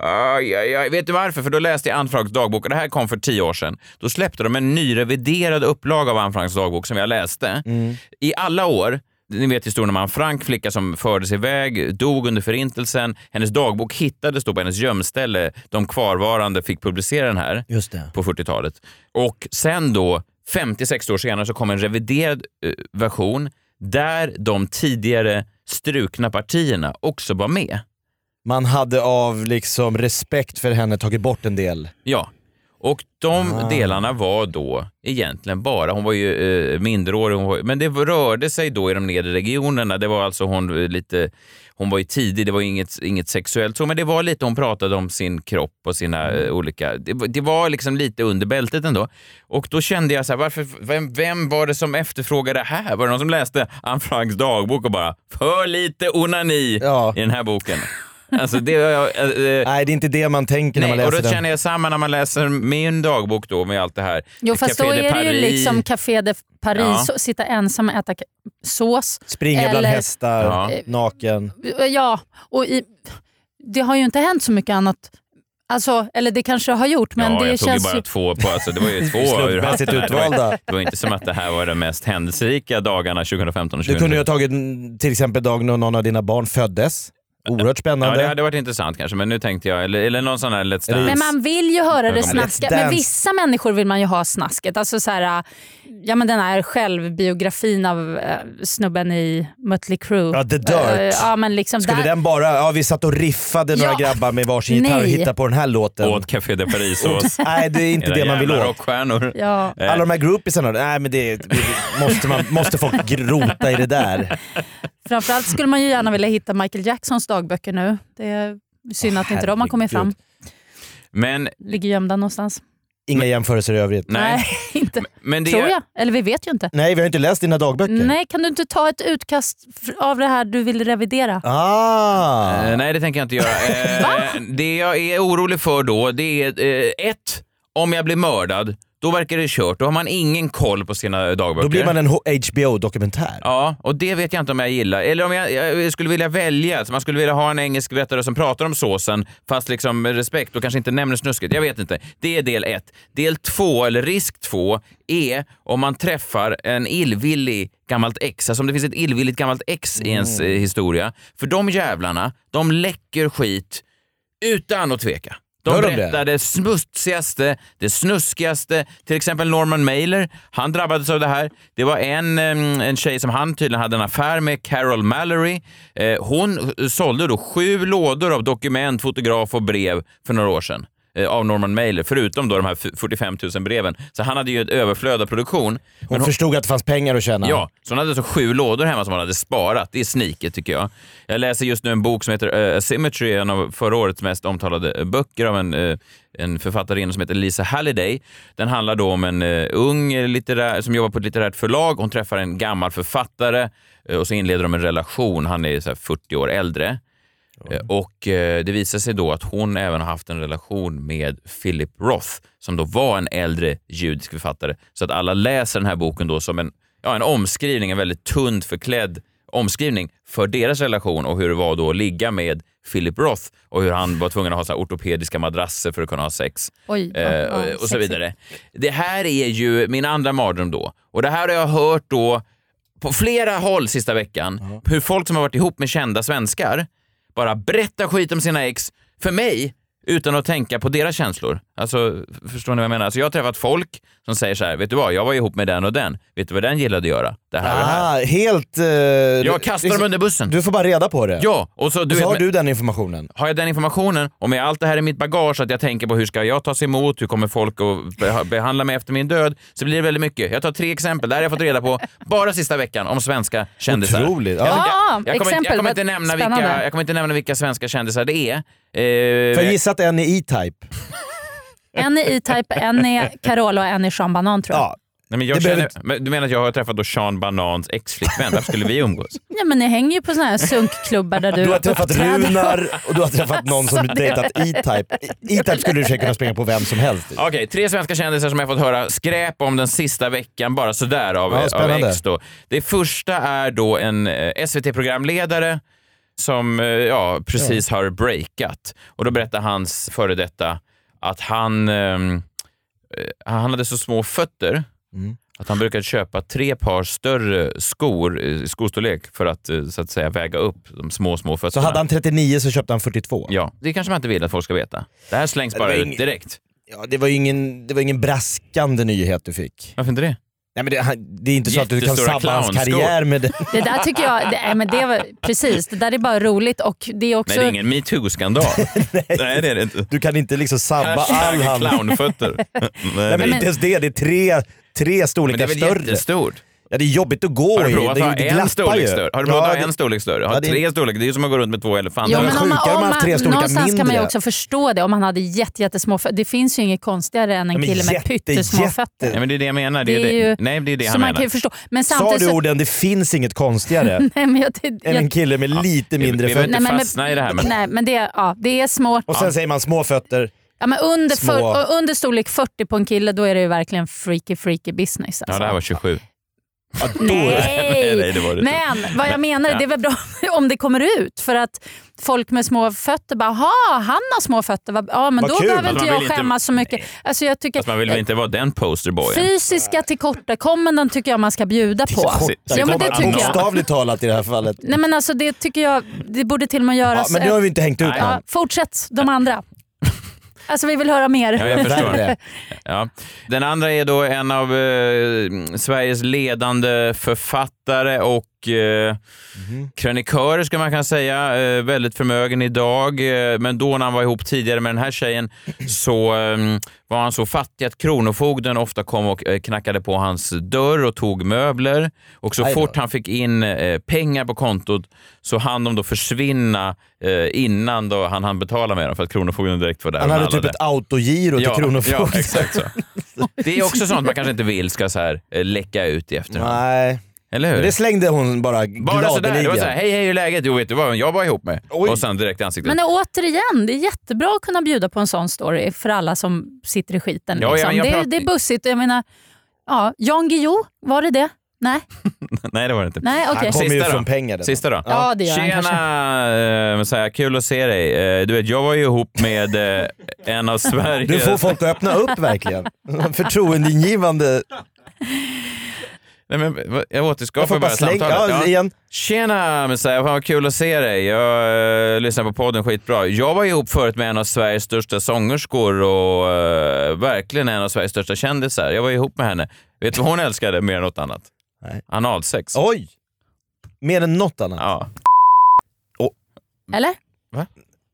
här, aj, aj, aj. Vet du varför? För då läste jag Anne Franks dagbok och det här kom för tio år sedan. Då släppte de en ny reviderad upplaga av Anne Franks dagbok som jag läste.
Mm.
I alla år ni vet historien om Anne Frank, flicka som fördes iväg, dog under förintelsen. Hennes dagbok hittades då på hennes gömställe. De kvarvarande fick publicera den här.
Just det.
på 40-talet. Och sen då, 50-60 år senare, så kom en reviderad eh, version där de tidigare strukna partierna också var med.
Man hade av liksom respekt för henne tagit bort en del.
Ja. Och de
Ah.
delarna var då egentligen bara, hon var ju eh, minderårig, hon var, men det rörde sig då i de nedre regionerna. Det var alltså hon eh, lite, hon var ju tidig, det var ju inget, inget sexuellt så, men det var lite, hon pratade om sin kropp och sina
Mm.
eh, olika, det, var- det var liksom lite under bältet ändå. Och då kände jag så här, varför, vem, vem var det som efterfrågade det här? Var det någon som läste Anne Franks dagbok och bara, för lite onani
Ja.
i den här boken? Alltså det, var jag- eh, eh,
Nej det är inte det man tänker när man
Nej, och
läser
då
den.
känner jag samma när man läser min dagbok då med allt det här.
Jo, fast då
Café de
är det ju
Paris.
liksom Café de Paris,
Ja.
så- sitta ensam och äta ka- sås.
Springa bland
Eller- Eh,
hästar,
Ja.
naken.
Ja, och i, det har ju inte hänt så mycket annat. Alltså, eller det kanske har gjort, men
ja,
det
jag tog ju
känns
bara
ju...
två på, alltså det var ju två ur
Slumpmässigt
hatten här. Det var-
utvalda.
Det var inte som att det här var de mest händelserika dagarna 2015 och
Du kunde ju ha
2016.
tagit mm, till exempel dagen när någon av dina barn föddes. Oerhört
Ja,
spännande.
det hade varit intressant kanske, men nu tänkte jag, eller, eller någon sån här Let's
Eller-
Dance.
Men man vill ju höra det
Let's
snasket.
Dance.
Men vissa människor vill man ju ha snasket. Alltså så här, äh, ja, men den här självbiografin av äh, snubben i Mötley Crüe.
Ja, The Dirt.
Äh, ja, men liksom
Skulle
där,
den bara, ja vi satt och riffade några
Ja.
grabbar med varsin gitarr och
Nej.
hittade på den här låten.
Åt Café de Paris-sås.
Nej det är inte
Era
det man vill
jävla
åt.
rockstjärnor.
Ja.
Eh,
Alla de här groupiesarna, nej men det, det måste, man, måste folk grota i det där.
Framförallt skulle man ju gärna vilja hitta Michael Jacksons dagböcker nu. Det är synd att inte de har kommit fram.
Herregud.
Men,
Ligger gömda någonstans.
Inga jämförelser i övrigt.
nej.
inte.
Men det,
Tror jag. Eller vi vet ju inte.
Nej vi har inte läst dina dagböcker.
Nej, kan du inte ta ett utkast f- av det här du vill revidera?
Ah.
Eh, nej, det tänker jag inte göra. Eh, det jag är orolig för då, det är eh, ett, om jag blir mördad, då verkar det kört. Då har man ingen koll på sina dagböcker.
Då blir man en HBO-dokumentär.
Ja, och det vet jag inte om jag gillar. Eller om jag, jag skulle vilja välja, så man skulle vilja ha en engelsk berättare som pratar om såsen, fast liksom med respekt och kanske inte nämner snusket. Jag vet inte. Det är del ett. Del två, eller risk två, är om man träffar en illvillig gammalt ex. Alltså om det finns ett illvilligt gammalt ex i ens eh,
Mm.
historia. För de jävlarna, de läcker skit utan att tveka. De
Gör de det?
berättar det smutsigaste, det snuskigaste. Till exempel Norman Mailer, han drabbades av det här. Det var en, em, en tjej som han tydligen hade en affär med, Carol Mallory. Eh, Hon sålde då sju lådor av dokument, fotograf och brev för några år sedan eh, av Norman Mailer, förutom då de här f- 45 000 breven. Så han hade ju ett överflöd av produktion. Men
Hon
hon-
förstod att det fanns pengar att tjäna.
Ja, så hon hade alltså sju lådor hemma som hon hade sparat. Det är sniket tycker jag. Jag läser just nu en bok som heter uh, Asymmetry, en av förra årets mest omtalade eh, böcker av en, eh, en författarinna som heter Lisa Halliday. Den handlar då om en eh, ung eh, litterär, som jobbar på ett litterärt förlag. Hon träffar en gammal författare eh, och så inleder de en relation. Han är så här 40 år äldre. Eh, Och eh, det visar sig då att hon även har haft en relation med Philip Roth som då var en äldre judisk författare. Så att alla läser den här boken då som en, ja, en omskrivning, en väldigt tunt förklädd omskrivning för deras relation och hur det var då att ligga med Philip Roth och hur han var tvungen att ha så här ortopediska madrasser för att kunna ha sex.
Oj, ja,
Eh,
ja,
och- och så
sexigt.
vidare. Det här är ju min andra mardröm då. Och det här har jag hört då på flera håll sista veckan, hur folk som har varit ihop med kända svenskar bara berättar skit om sina ex för mig utan att tänka på deras känslor. Alltså, förstår ni vad jag menar? Alltså, jag har träffat folk som säger så här, vet du vad, jag var ihop med den och den. Vet du vad den gillade att göra? Det här och det här.
Ah, helt... eh,
Jag kastar dem
liksom-
under bussen.
Du får bara reda på det.
Ja, och så, du
och så
vet,
har
men-
du den informationen.
har jag den informationen och med allt det här i mitt bagage att jag tänker på hur ska jag tas emot, hur kommer folk att be- behandla mig efter min död, så blir det väldigt mycket. Jag tar tre exempel, där har jag fått reda på bara sista veckan om svenska kändisar.
Otroligt. Ja.
Jag,
Ah,
jag, kommer, inte- jag,
exempel.
kommer inte
Vad
nämna vilka,
spännande.
jag kommer inte nämna vilka svenska kändisar det är.
För
Eh,
jag gissar att en är E-Type.
En är E-Type, en är Carola och en är Sean Banan tror jag.
Ja.
nej, men jag
det
känner,
behöver
men Du menar att jag har träffat då Sean Banans ex-flickvän, varför skulle vi umgås?
Ja, men ni hänger ju på såna här sunkklubbar där du,
Du har träffat
uppträder.
Runar och du har träffat någon som dejtat E-Type. E-Type skulle du säkert kunna springa på vem som helst.
Okej, tre svenska kändisar som jag fått höra skräp om den sista veckan, bara sådär av,
Ja,
av
spännande.
ex då. Det första är då en eh, SVT-programledare som eh, ja, precis har breakat. Och då berättar hans före detta att han, ehm, eh, han hade så små fötter
Mm.
att han brukade köpa tre par större skor eh, i skostorlek för att eh, så att säga väga upp de små, små fötterna.
Så hade han 39 så köpte han 42.
Ja, det kanske man inte vill att folk ska veta. Det här slängs
Det var
bara
ing-
ut direkt.
Ja, det, var ju ingen, det var ingen braskande nyhet du fick.
Varför inte det?
Nej, men det, han- det är inte så att du kan
Jättestora
sabba hans
clownskor.
karriär med det.
Det där tycker jag, det, nej, men det var, precis, det där är bara roligt och det är också...
Nej, det är ingen metoo-skandal. Nej. det är det inte.
Du kan inte liksom sabba all
Hashtag
han... Nej,
clownfötter. Nej,
men,
nej.
inte ens det, det är tre, tre
men det
storlekar
är väl
större.
jättestort?
Ja, det är jobbigt att gå
Har du
i.
provat
det,
att ha
det glappar
en storlek
ju.
större? Har du provat
Ja,
att
det-
ha en storlek större?
ja,
Ha
det-
tre storlekar, det är ju som att gå runt med två elefanter.
Ja, men
om man-
sjukare om
om
man haft tre
man-
storlekar
Någonstans kan man ju
mindre.
också förstå det om han hade jätte, jättesmå fötter. Det finns ju inget konstigare än en
men
kille med
jätte,
pyttesmå
jätte-
fötter.
Nej men det är det jag menar. Det är
Det är ju-
det. Nej det är det
så
han
man kan ju
menar.
förstå. Men
Sa
samtidigt
du
så...
orden “det finns inget konstigare”
Nej, men jag, jag,
än en kille med lite mindre
vi behöver
fötter?
inte fastna i det här, men-
Nej, men det, ja, det är små.
Och sen säger man små fötter.
Ja, men under,
Små.
för, och under storlek 40 på en kille, då är det ju verkligen freaky freaky business. Alltså.
Ja det här var 27.
Nej!
Nej, det var det inte.
Men vad jag menar, det är väl bra om det kommer ut. För att folk med små fötter bara, ha han har små fötter. Vad- Ja, men
Vad
då
kul.
behöver
Fast
inte
man
jag
vill inte-
skämmas så mycket. Alltså, jag tycker,
Fast man vill väl inte vara den posterboyen?
Fysiska tillkortakommanden tycker jag man ska bjuda på.
Ja, men det tycker jag.
Bokstavligt talat i det här fallet.
Nej, men alltså, det tycker jag, det borde till och med
Ja,
göras.
men nu har vi inte hängt ut
ja,
honom.
fortsätt, de andra. Alltså vi vill höra mer.
Ja, jag förstår.
Värre.
Ja. Den andra är då en av eh, Sveriges ledande författare och eh,
Mhm.
krönikörer, ska man kunna säga. Eh, väldigt förmögen idag, eh, men då när han var ihop tidigare med den här tjejen så eh, var han så fattig att Kronofogden ofta kom och eh, knackade på hans dörr och tog möbler. Och så
Aj då.
fort han fick in eh, pengar på kontot så hann de då försvinna eh, innan då han hann betala med dem för att Kronofogden direkt var där
Han
och
hade typ
nallade.
ett autogiro till Kronofogden.
Ja, exakt så. Det är också sånt man kanske inte vill ska så här, eh, läcka ut i efterhand.
Nej,
Eller hur?
men det slängde hon bara
bara sådär. Det var såhär,
gladeligen.
hej hej hur är läget? Jo vet du vad jag var ihop med?
Oj.
Och sen direkt i ansiktet.
Men återigen, det är jättebra att kunna bjuda på en sån story för alla som sitter i skiten.
Ja, ja,
liksom.
men jag
det, är-
pratar-
det är bussigt. Jag menar, ja, Jan Guillou, var det det? Nej,
Nej det var det inte.
nej okej.
Han kommer ju
Sista då.
från pengar. den.
Sista då.
Ja, det gör han
Tjena!
kanske.
eh, Så här, kul att se dig. Eh, Du vet, jag var ju ihop med eh, en av Sveriges...
Du får folk att öppna upp verkligen. Förtroendeingivande.
Nej, men, va- jag
Jag
återskapar
får
bara
bara slänga.
samtalet.
Ja,
Ja.
igen.
Tjena Messiah, fan vad kul att se dig. Jag eh, lyssnar på podden skitbra. Jag var ihop förut med en av Sveriges största sångerskor och eh, verkligen en av Sveriges största kändisar. Jag var ihop med henne. Vet du vad hon älskade mer än något annat?
Nej.
Analsex.
Oj! Mer än något annat.
Ja.
Eller?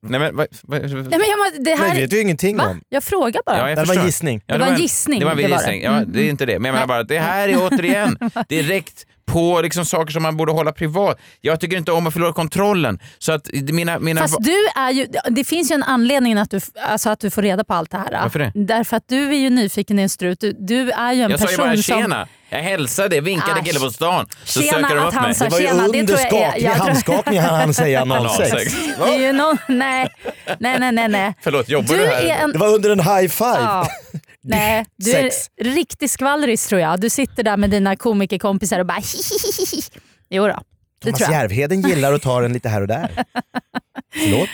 Nej men, vad- vad-
Nej, men jag, må-
Nej,
det här,
det vet du ingenting
va?
om.
Jag frågar bara.
Ja, jag
Det här var
förstår.
en gissning.
Ja,
det var en gissning,
Det var en
det Mm. var
gissning.
det.
Ja, det är inte det. Men jag menar bara att det här är återigen direkt på liksom saker som man borde hålla privat. Jag tycker inte om att förlora kontrollen. Så att mina... mina
Fast du är ju, det finns ju en anledning att du, alltså att du får reda på allt det här.
Varför det?
Därför att du är ju nyfiken i en strut. Du, du är ju en
jag sa
person
ju bara
som...
tjena. Jag hälsade, vinkade
Asch.
killen på stan. Så
Tjena,
söker de
att
upp
han
mig.
sa-
Det var ju
Tjena, det tror jag
under
är-
skakning,
jag tror-
handskakning hann han säga analsex.
Analsex.
Det är ju någon, nej, nej, nej, nej. nej.
Förlåt, jobbar
Du
du här?
är en...
Det var under en high five.
Ja. Nej, du är
Sex.
en riktig skvallris tror jag. Du sitter där med dina komikerkompisar och bara hihihihi. Jo då, det
Thomas
tror jag.
Järvheden gillar att ta den lite här och där. Förlåt?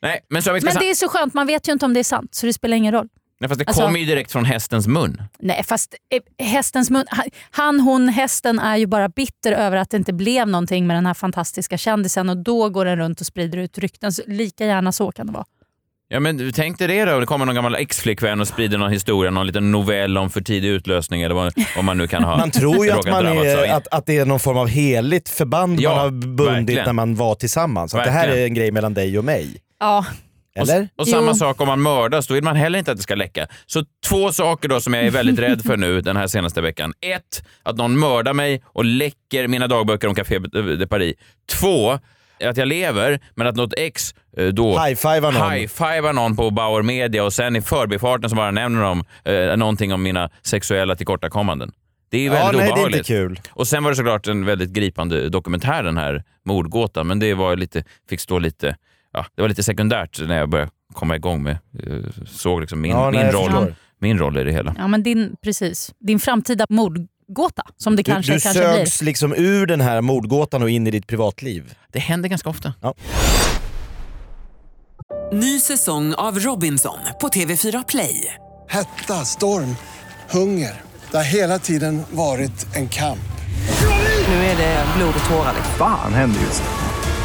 Nej, men som vi
Alltså-
ska
Men
sa-
det är så skönt, man vet ju inte om det är sant så det spelar ingen roll.
Nej, fast det
alltså-
kommer ju direkt från hästens mun.
Nej, fast eh, hästens mun... han- Han, hon, hästen är ju bara bitter över att det inte blev någonting med den här fantastiska kändisen och då går den runt och sprider ut rykten. Så lika gärna så kan det vara.
Ja, men tänk dig det då. Det kommer någon gammal ex-flickvän och sprider någon historia, någon liten novell om för tidig utlösning eller vad, vad man nu kan ha.
Man tror ju att,
råkat
man
drabbats av.
är, att, att det är någon form av heligt förband
Ja,
man har bundit
verkligen.
när man var tillsammans. Att det här
Verkligen.
är en grej mellan dig och mig.
Ja,
Och,
Eller?
och samma
Jo.
sak om man mördas, då vill man heller inte att det ska läcka. Så två saker då som jag är väldigt rädd för nu den här senaste veckan. Ett, att någon mördar mig och läcker mina dagböcker om Café de Paris. Två, att jag lever, men att något ex eh, då
High-fivar någon.
high-fivar någon på Bauer Media och sen i förbifarten så bara nämner de eh, någonting om mina sexuella tillkortakommanden. Det är ju
ja,
väldigt
nej det är
obehagligt.
inte kul.
Och sen var det såklart en väldigt gripande dokumentär den här mordgåtan, men det var lite, fick stå lite, ja, det var lite sekundärt när jag började komma igång med, eh, såg liksom min,
Ja, nej,
min,
jag
roll,
förstår.
min roll i det hela.
ja men din, precis. din framtida mordgåta som det
Du,
kanske,
du
kanske blir.
sögs liksom ur den här mordgåtan och in i ditt privatliv.
Det händer ganska ofta.
Ny säsong av Robinson på TV4 Play.
Hetta, storm, hunger. Det har hela tiden varit en kamp.
Nu är det blod och tårar.
Fan händer just det.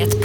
Ett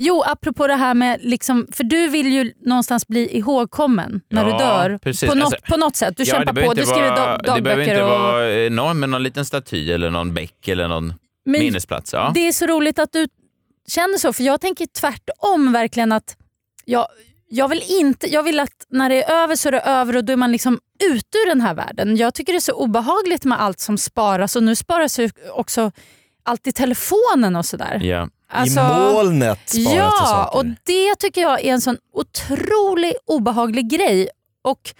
Jo, apropå det här med, liksom, för du vill ju någonstans bli ihågkommen när
Ja,
du dör.
precis.
På, något,
Alltså,
på något sätt. Du
Ja, det
kämpar
behöver
på,
inte
du skriver
vara-
dag,
Det behöver inte
dagböcker. Och...
vara enormt med någon liten staty eller någon bäck eller någon
Men
minnesplats. Ja.
Det är så roligt att du känner så, för jag tänker tvärtom verkligen att jag, jag, vill inte, jag vill att när det är över så är det över och då är man liksom ute ur den här världen. Jag tycker det är så obehagligt med allt som sparas och nu sparas ju också allt i telefonen och sådär.
Ja.
Alltså-
I molnet sparas det
Ja,
saker.
och det tycker jag är en sån otrolig obehaglig grej. Och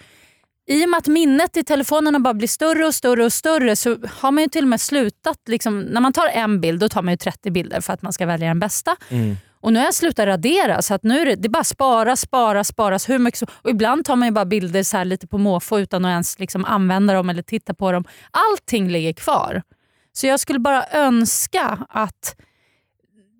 i och med att minnet i telefonerna bara blir större och större och större så har man ju till och med slutat. Liksom, när man tar en bild då tar man ju 30 bilder för att man ska välja den bästa.
Mm.
Och nu har jag slutat radera så att nu är det, det är bara sparas, sparas, sparas. Hur mycket som, och ibland tar man ju bara bilder så här lite på måfå utan att ens liksom använda dem eller titta på dem. Allting ligger kvar. Så jag skulle bara önska att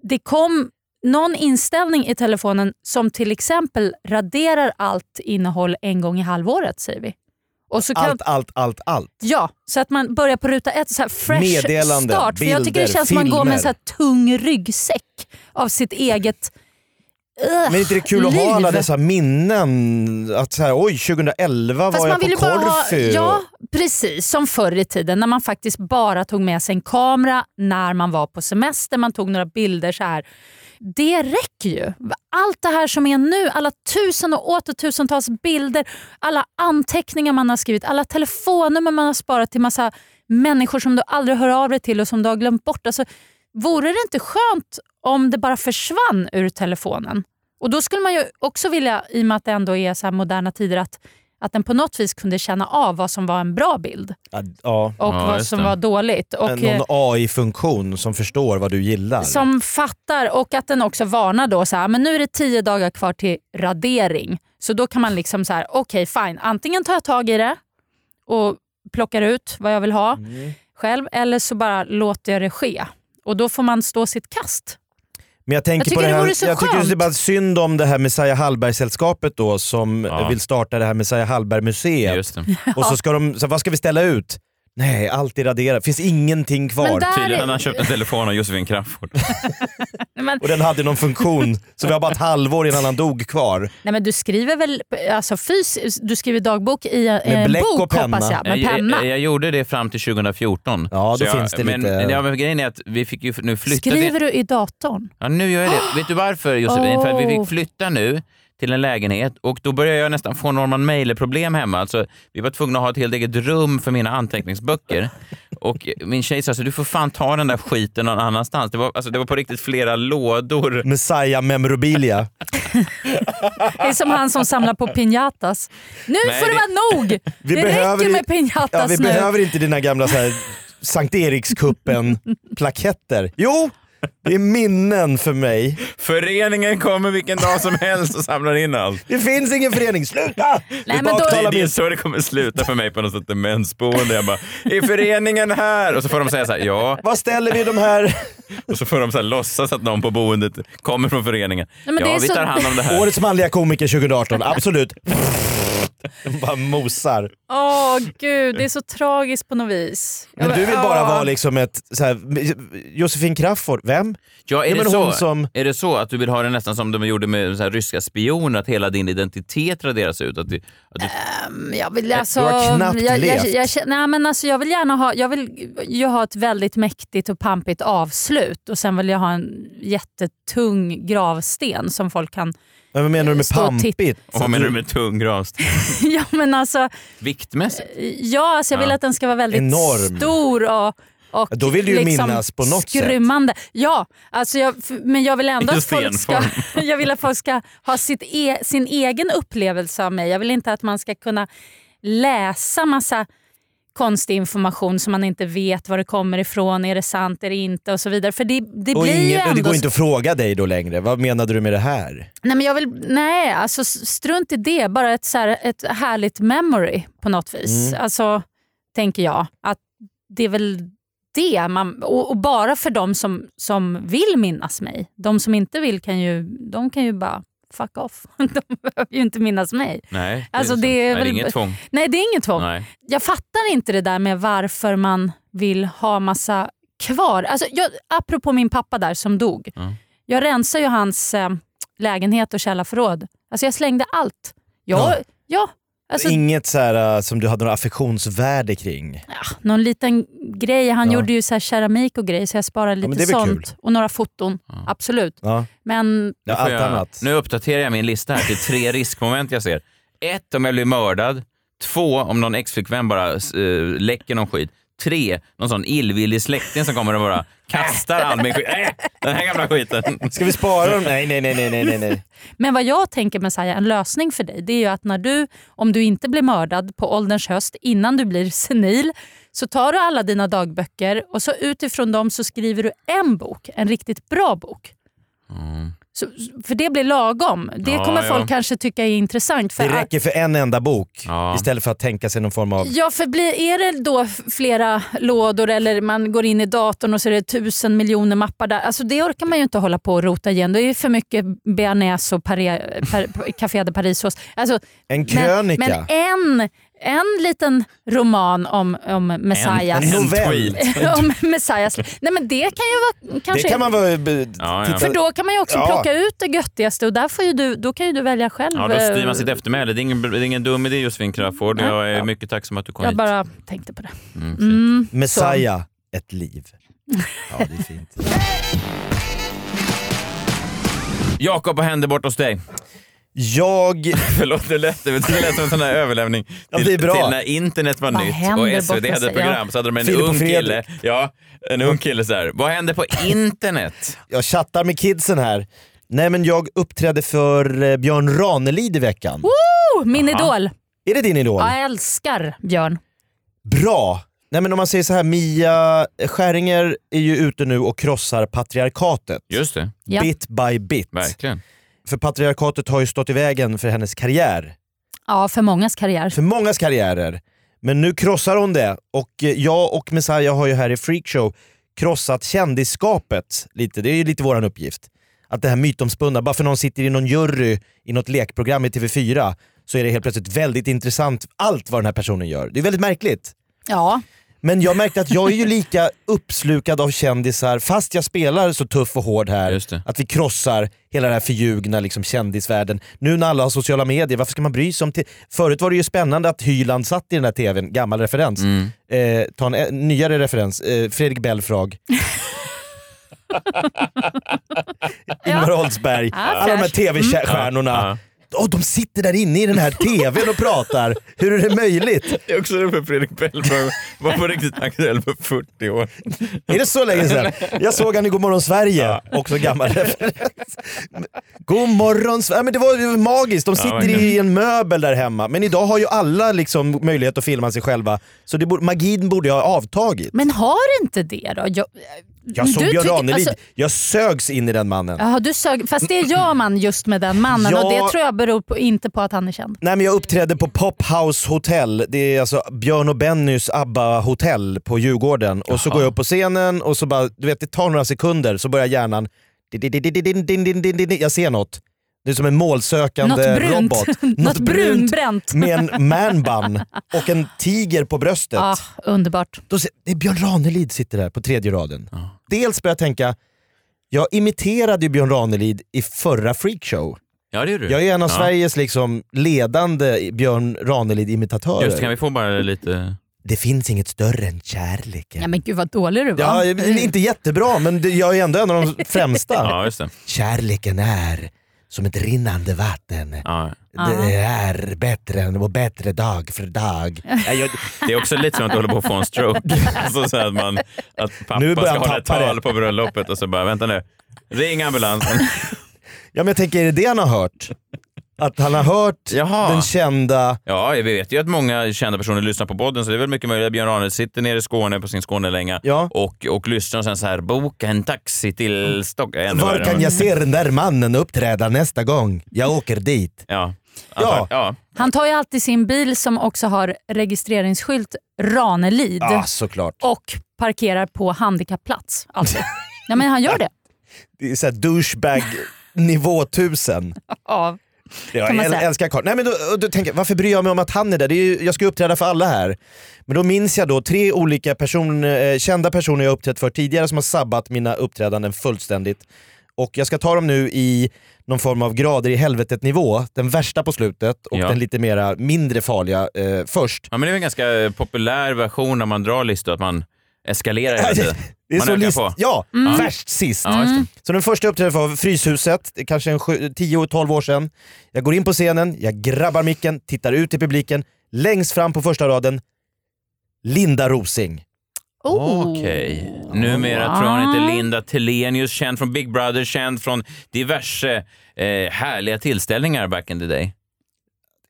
det kom någon inställning i telefonen som till exempel raderar allt innehåll en gång i halvåret säger vi. Och så kan,
Allt, allt, allt, allt.
Ja, så att man börjar på ruta ett. Så här fresh
Meddelande,
start. För jag tycker det
bilder,
känns som man går med en så
filmer.
här tung ryggsäck av sitt eget
Men är inte det kul att
liv.
ha alla dessa minnen? Att så här, oj, 2011 var jag på
ju bara ha-
Korfu.
Ja, precis. Som förr i tiden när man faktiskt bara tog med sig en kamera när man var på semester. Man tog några bilder så här. Det räcker ju. Allt det här som är nu, alla tusen och åter tusentals bilder, alla anteckningar man har skrivit, alla telefonnummer man har sparat till massa människor som du aldrig hör av dig till och som du har glömt bort. Alltså, vore det inte skönt om det bara försvann ur telefonen? Och Då skulle man ju också vilja, i och med att det ändå är så här moderna tider, att, att den på något vis kunde känna av vad som var en bra bild
Ja, ja.
och vad som var dåligt. Och, eh,
Någon AI-funktion som förstår vad du gillar.
som fattar och att den också varnar då så här, men nu är det tio dagar kvar till radering. Så då kan man liksom så här, okej fine, antingen tar jag tag i det och plockar ut vad jag vill ha
Mm.
själv eller så bara låter jag det ske. Och då får man stå sitt kast.
Men jag tänker
Jag
på
tycker
det
det
här,
vore så
jag tycker det är
skönt.
bara synd om det här Messiah Hallberg-sällskapet då som
Ja.
vill starta det här Messiah Hallberg-museet.
Just det.
Och så ska de, så vad ska vi ställa ut? Nej, allt är raderat. Finns ingenting kvar.
Men där-
Tydligen hade han köpt en telefon av Josefin Crafoord.
Nej, men-
Och den hade någon funktion, så vi har bara ett halvår innan han dog kvar.
Nej, men du skriver väl alltså, fys- du skriver dagbok i en
Med
en
bläck
bok
och penna.
hoppas jag. Med
jag,
penna.
jag, jag gjorde det fram till 2014.
Ja, då
Så jag,
finns det
men,
lite-
Ja, men grejen är att vi fick ju nu flytta... det-
Skriver du i datorn?
Ja, nu gör jag det. Vet du varför Josefin? För att vi
Oh.
fick flytta nu till en lägenhet och då började jag nästan få Norman Mailer-problem hemma. Alltså, vi var tvungna att ha ett helt eget rum för mina anteckningsböcker. Och eh, min tjej sa alltså, du får fan ta den där skiten någon annanstans. Det var, alltså, det var på riktigt flera lådor.
Messiah memorabilia.
Det är som han som samlar på piñatas. Nu
Nej,
får det vara nog!
Vi
det
behöver
räcker
i-
med piñatas
Ja, vi
nu.
behöver inte dina gamla så här, Sankt Erikskuppen-plaketter. Jo, det är minnen för mig.
Föreningen kommer vilken dag som helst och samlar in allt.
Det finns ingen förening, sluta!
Nej, men
Det,
då,
det är så det kommer sluta för mig på något sånt demensboende. Jag bara, är föreningen här? Och så får de säga så här, ja.
Vad ställer vi de här?
Och så får de så här låtsas att någon på boendet kommer från föreningen.
Nej, men det
ja,
är
vi
så-
tar hand om det här.
Årets manliga komiker 2018, absolut. De bara mosar.
Åh gud, det är så tragiskt på något vis.
Men
Jag-
du vill bara
Ja.
vara liksom ett... Så här, Josefin Crafoord, vem?
Ja, är,
Ja, men
det
hon
så,
som-
är det så att du vill ha det nästan som de gjorde med så här ryska spioner, att hela din identitet raderas ut? Att du, att du,
Äh, Jag vill alltså,
Du har knappt
jag, jag,
levt.
jag, känner- nej, men alltså, jag vill gärna ha, jag vill, jag har ett väldigt mäktigt och pampigt avslut och sen vill jag ha en jättetung gravsten som folk kan...
Men vad menar du med
Stå och titta.
pampigt? Så
vad menar du
att
med tung gravsten?
ja, men alltså,
Viktmässigt?
ja, alltså jag vill
Ja.
att den ska vara väldigt
Enorm.
stor och, och
Ja, då vill du ju
liksom
minnas på något sätt.
skrymmande. Ja, alltså jag, f- men jag vill ändå
I
att folk ska,
stenform.
jag vill att folk ska ha sitt e, sin egen upplevelse av mig. Jag vill inte att man ska kunna läsa massa konstig information som man inte vet var det kommer ifrån, är det sant, är det inte och så vidare. För det, det
och
blir ju
ingen,
ändå...
det går inte att fråga dig då längre. Vad menade du med det här?
Nej, men jag vill, nej alltså s- strunt i det. Bara ett, så här, ett härligt memory på något vis.
Mm.
Alltså, tänker jag. Att det är väl det. Man, och, och bara för de som, som vill minnas mig. De som inte vill kan ju, de kan ju bara fuck off. De behöver ju inte minnas mig.
Nej,
Alltså, det är
sant. Nej,
väl-
inget tvång.
Nej, det är inget tvång.
Nej.
Jag fattar inte det där med varför man vill ha massa kvar. Alltså, jag, apropå min pappa där som dog.
Ja.
Jag rensar ju hans eh, lägenhet och källarförråd. Alltså jag slängde allt. Jag, ja. alltså,
Inget så här, äh, som du hade något affektionsvärde kring?
någon liten grej. Han
Ja.
gjorde ju så här keramik och grejer så jag sparade
men
lite
det är väl
sånt. Och några foton. Absolut.
Ja.
Men
Nu, får jag, nu uppdaterar jag min lista här till tre riskmoment jag ser. Ett, om jag blir mördad. Två, om någon ex-flickvän bara uh, läcker någon skit. Tre, någon sån illvillig släkting som kommer och bara kastar all min skit. Äh, den här gamla skiten.
Ska vi spara dem? Nej, nej, nej, nej, nej, nej, nej.
Men vad jag tänker med så här, en lösning för dig, det är ju att när du, om du inte blir mördad på ålderns höst, innan du blir senil, så tar du alla dina dagböcker och så utifrån dem så skriver du en bok, en riktigt bra bok. Så, för det blir lagom. Det
Mm. Ja,
kommer
ja.
folk kanske tycka är intressant. För
Det räcker för en enda bok istället för att tänka sig någon form av...
Ja, för blir, är det då f- flera lådor eller man går in i datorn och så är det tusen miljoner mappar där. Alltså det orkar man ju inte hålla på och rota igen. Det är ju för mycket bearnaise och Paris, per, Café de Paris-sås. Alltså,
En
Men,
krönika.
men en, en liten roman om, om Messias.
en novell.
om Messias. Nej men det kan ju vara... Kanske,
Det kan man väl... be- titta-
För då kan man ju också
Ja.
plocka ut det göttigaste och där får ju du, då kan ju du välja själv.
Ja, då styr man sitt
eh,
eftermäle. Det är ingen, det är ingen dum idé Josefin Crafoord. Jag är mycket tacksam att du kom
Jag
hit.
bara tänkte på det.
Mm, fint.
Mm, så.
Messiah, ett liv. Ja, det är fint.
Jakob, vad hände bort hos dig?
Jag...
Förlåt, det lät, det lät som en sån här överlämning till,
Ja, det är bra.
till när internet var
Vad händer
nytt
bort
och
hos
SVT hade ett
dig?
program så hade de en
Filip och
ung kille.
Fredrik.
Ja, en ung kille så här. Vad hände på internet?
Jag chattar med kidsen här. Nej men jag uppträdde för eh, Björn Ranelid i veckan.
Woo! Oh, Min
Aha.
idol.
Är det din idol?
Ja, jag älskar Björn.
Bra! Nej men om man säger så här, Mia Skäringer är ju ute nu och krossar patriarkatet.
Just det.
Ja.
Bit by bit.
Verkligen.
För patriarkatet har ju stått i vägen för hennes karriär.
Ja, för mångas karriär.
För mångas karriärer. Men nu krossar hon det och eh, jag och Messiah har ju här i Freakshow krossat kändisskapet lite. Det är ju lite våran uppgift. Att det här mytomspunna, bara för någon sitter i någon jury i något lekprogram i TV4 så är det helt plötsligt väldigt intressant allt vad den här personen gör. Det är väldigt märkligt.
Ja.
Men jag märkte att jag är ju lika uppslukad av kändisar fast jag spelar så tuff och hård här. Att vi krossar hela den här förljugna liksom, kändisvärlden. Nu när alla har sociala medier, varför ska man bry sig om te- Förut var det ju spännande att Hyland satt i den här tvn, gammal referens. Eh, ta en eh, nyare referens, eh, Fredrik Belfrage. Ingvar Oldsberg,
Ja,
alla de här
fräscht.
tv-stjärnorna. Åh, de sitter där inne i den här tvn och pratar. Hur är det möjligt?
Det är också det för Fredrik Bellberg. Var på riktigt aktuell för 40 år.
Är det så länge sedan? Jag såg han i Godmorgon Sverige, också gammal referens. Godmorgon Sverige, men det var ju magiskt. De sitter i
verkligen.
en möbel där hemma. Men idag har ju alla liksom möjlighet att filma sig själva, så det borde, magin borde ju ha avtagit.
Men har inte det då? Jag,
Jag såg
Du
Björn
tycker-
Ranelid,
alltså-
jag sögs in i den mannen.
Jaha, du sög, fast det gör man just med den mannen
Ja.
och det tror jag beror på, inte på att han är känd.
Nej men jag uppträdde på Pop House Hotel, det är alltså Björn och Bennys ABBA-hotell på Djurgården. Och så går jag upp på scenen och så bara, du vet det tar några sekunder så börjar hjärnan... Jag ser något. Det är som en målsökande
Något brunt.
eh, robot.
Något brunbränt.
Med en manbun och en tiger på bröstet.
Ah, underbart.
Då ser, det är Björn Ranelid sitter där på tredje
Ah.
raden. Dels börjar jag tänka, jag imiterade ju Björn Ranelid i förra freakshow.
Ja, det är du.
Jag är en av
Ja.
Sveriges liksom ledande Björn Ranelid-imitatörer.
Just det, kan vi få bara lite...
Det finns inget större än kärleken.
Ja, men gud vad dålig du var.
Ja, jag är inte jättebra, men det- jag är ändå en av de främsta.
Ja, just det.
Kärleken är som ett rinnande vatten.
Ja.
Det är bättre än- och bättre dag för dag. Nej, jag-
Det är också lite som att du håller på att få en stroke. Alltså så här att, man, att pappa
Nu börjar
ska
han
hålla ett
tappa det.
tal på bröllopet och så bara, vänta nu, ring ambulansen.
Ja, men jag tänker, är det det han har hört? Att han har hört den kända...
Ja, vi vet ju att många kända personer lyssnar på podden, så det är väl mycket möjligt att Björn Ranelid sitter nere i Skåne på sin Skånelänga och, och lyssnar och sen så här, boka en taxi till Stockholm. Ännu
Var
värre.
kan jag se den där mannen uppträda nästa gång? Jag åker dit.
Ja.
Ja.
ja.
Han tar ju alltid sin bil som också har registreringsskylt Ranelid
Ja, såklart.
och parkerar på handikappplats. Alltid. ja, men han gör det.
Det är såhär douchebag nivå tusen.
Ja.
Jag
Kan man
äl-
säga.
älskar Karl. Nej men då, då tänker jag, varför bryr jag mig om att han är där? Det är ju, jag ska ju uppträda för alla här. Men då minns jag då tre olika person, eh, kända personer jag uppträtt för tidigare som har sabbat mina uppträdanden fullständigt. Och jag ska ta dem nu i någon form av grader i helvetet nivå. Den värsta på slutet och
Ja.
den lite mera mindre farliga eh, först.
Ja, men det är väl en ganska eh, populär version när man drar listor, att man eskalerar hela tiden.
Det är
man
så
ökar
list,
på.
Ja,
Mm.
värst sist.
Ja, just det. Mm.
Så den första uppträdandet var Fryshuset, det är kanske en 10-12 år sedan. Jag går in på scenen, jag grabbar micken, tittar ut i publiken. Längst fram på första raden, Linda Rosing.
Oh.
Okej.
Oh.
Numera tror jag hon heter Linda Telenius, känd från Big Brother, känd från diverse eh, härliga tillställningar back in the day.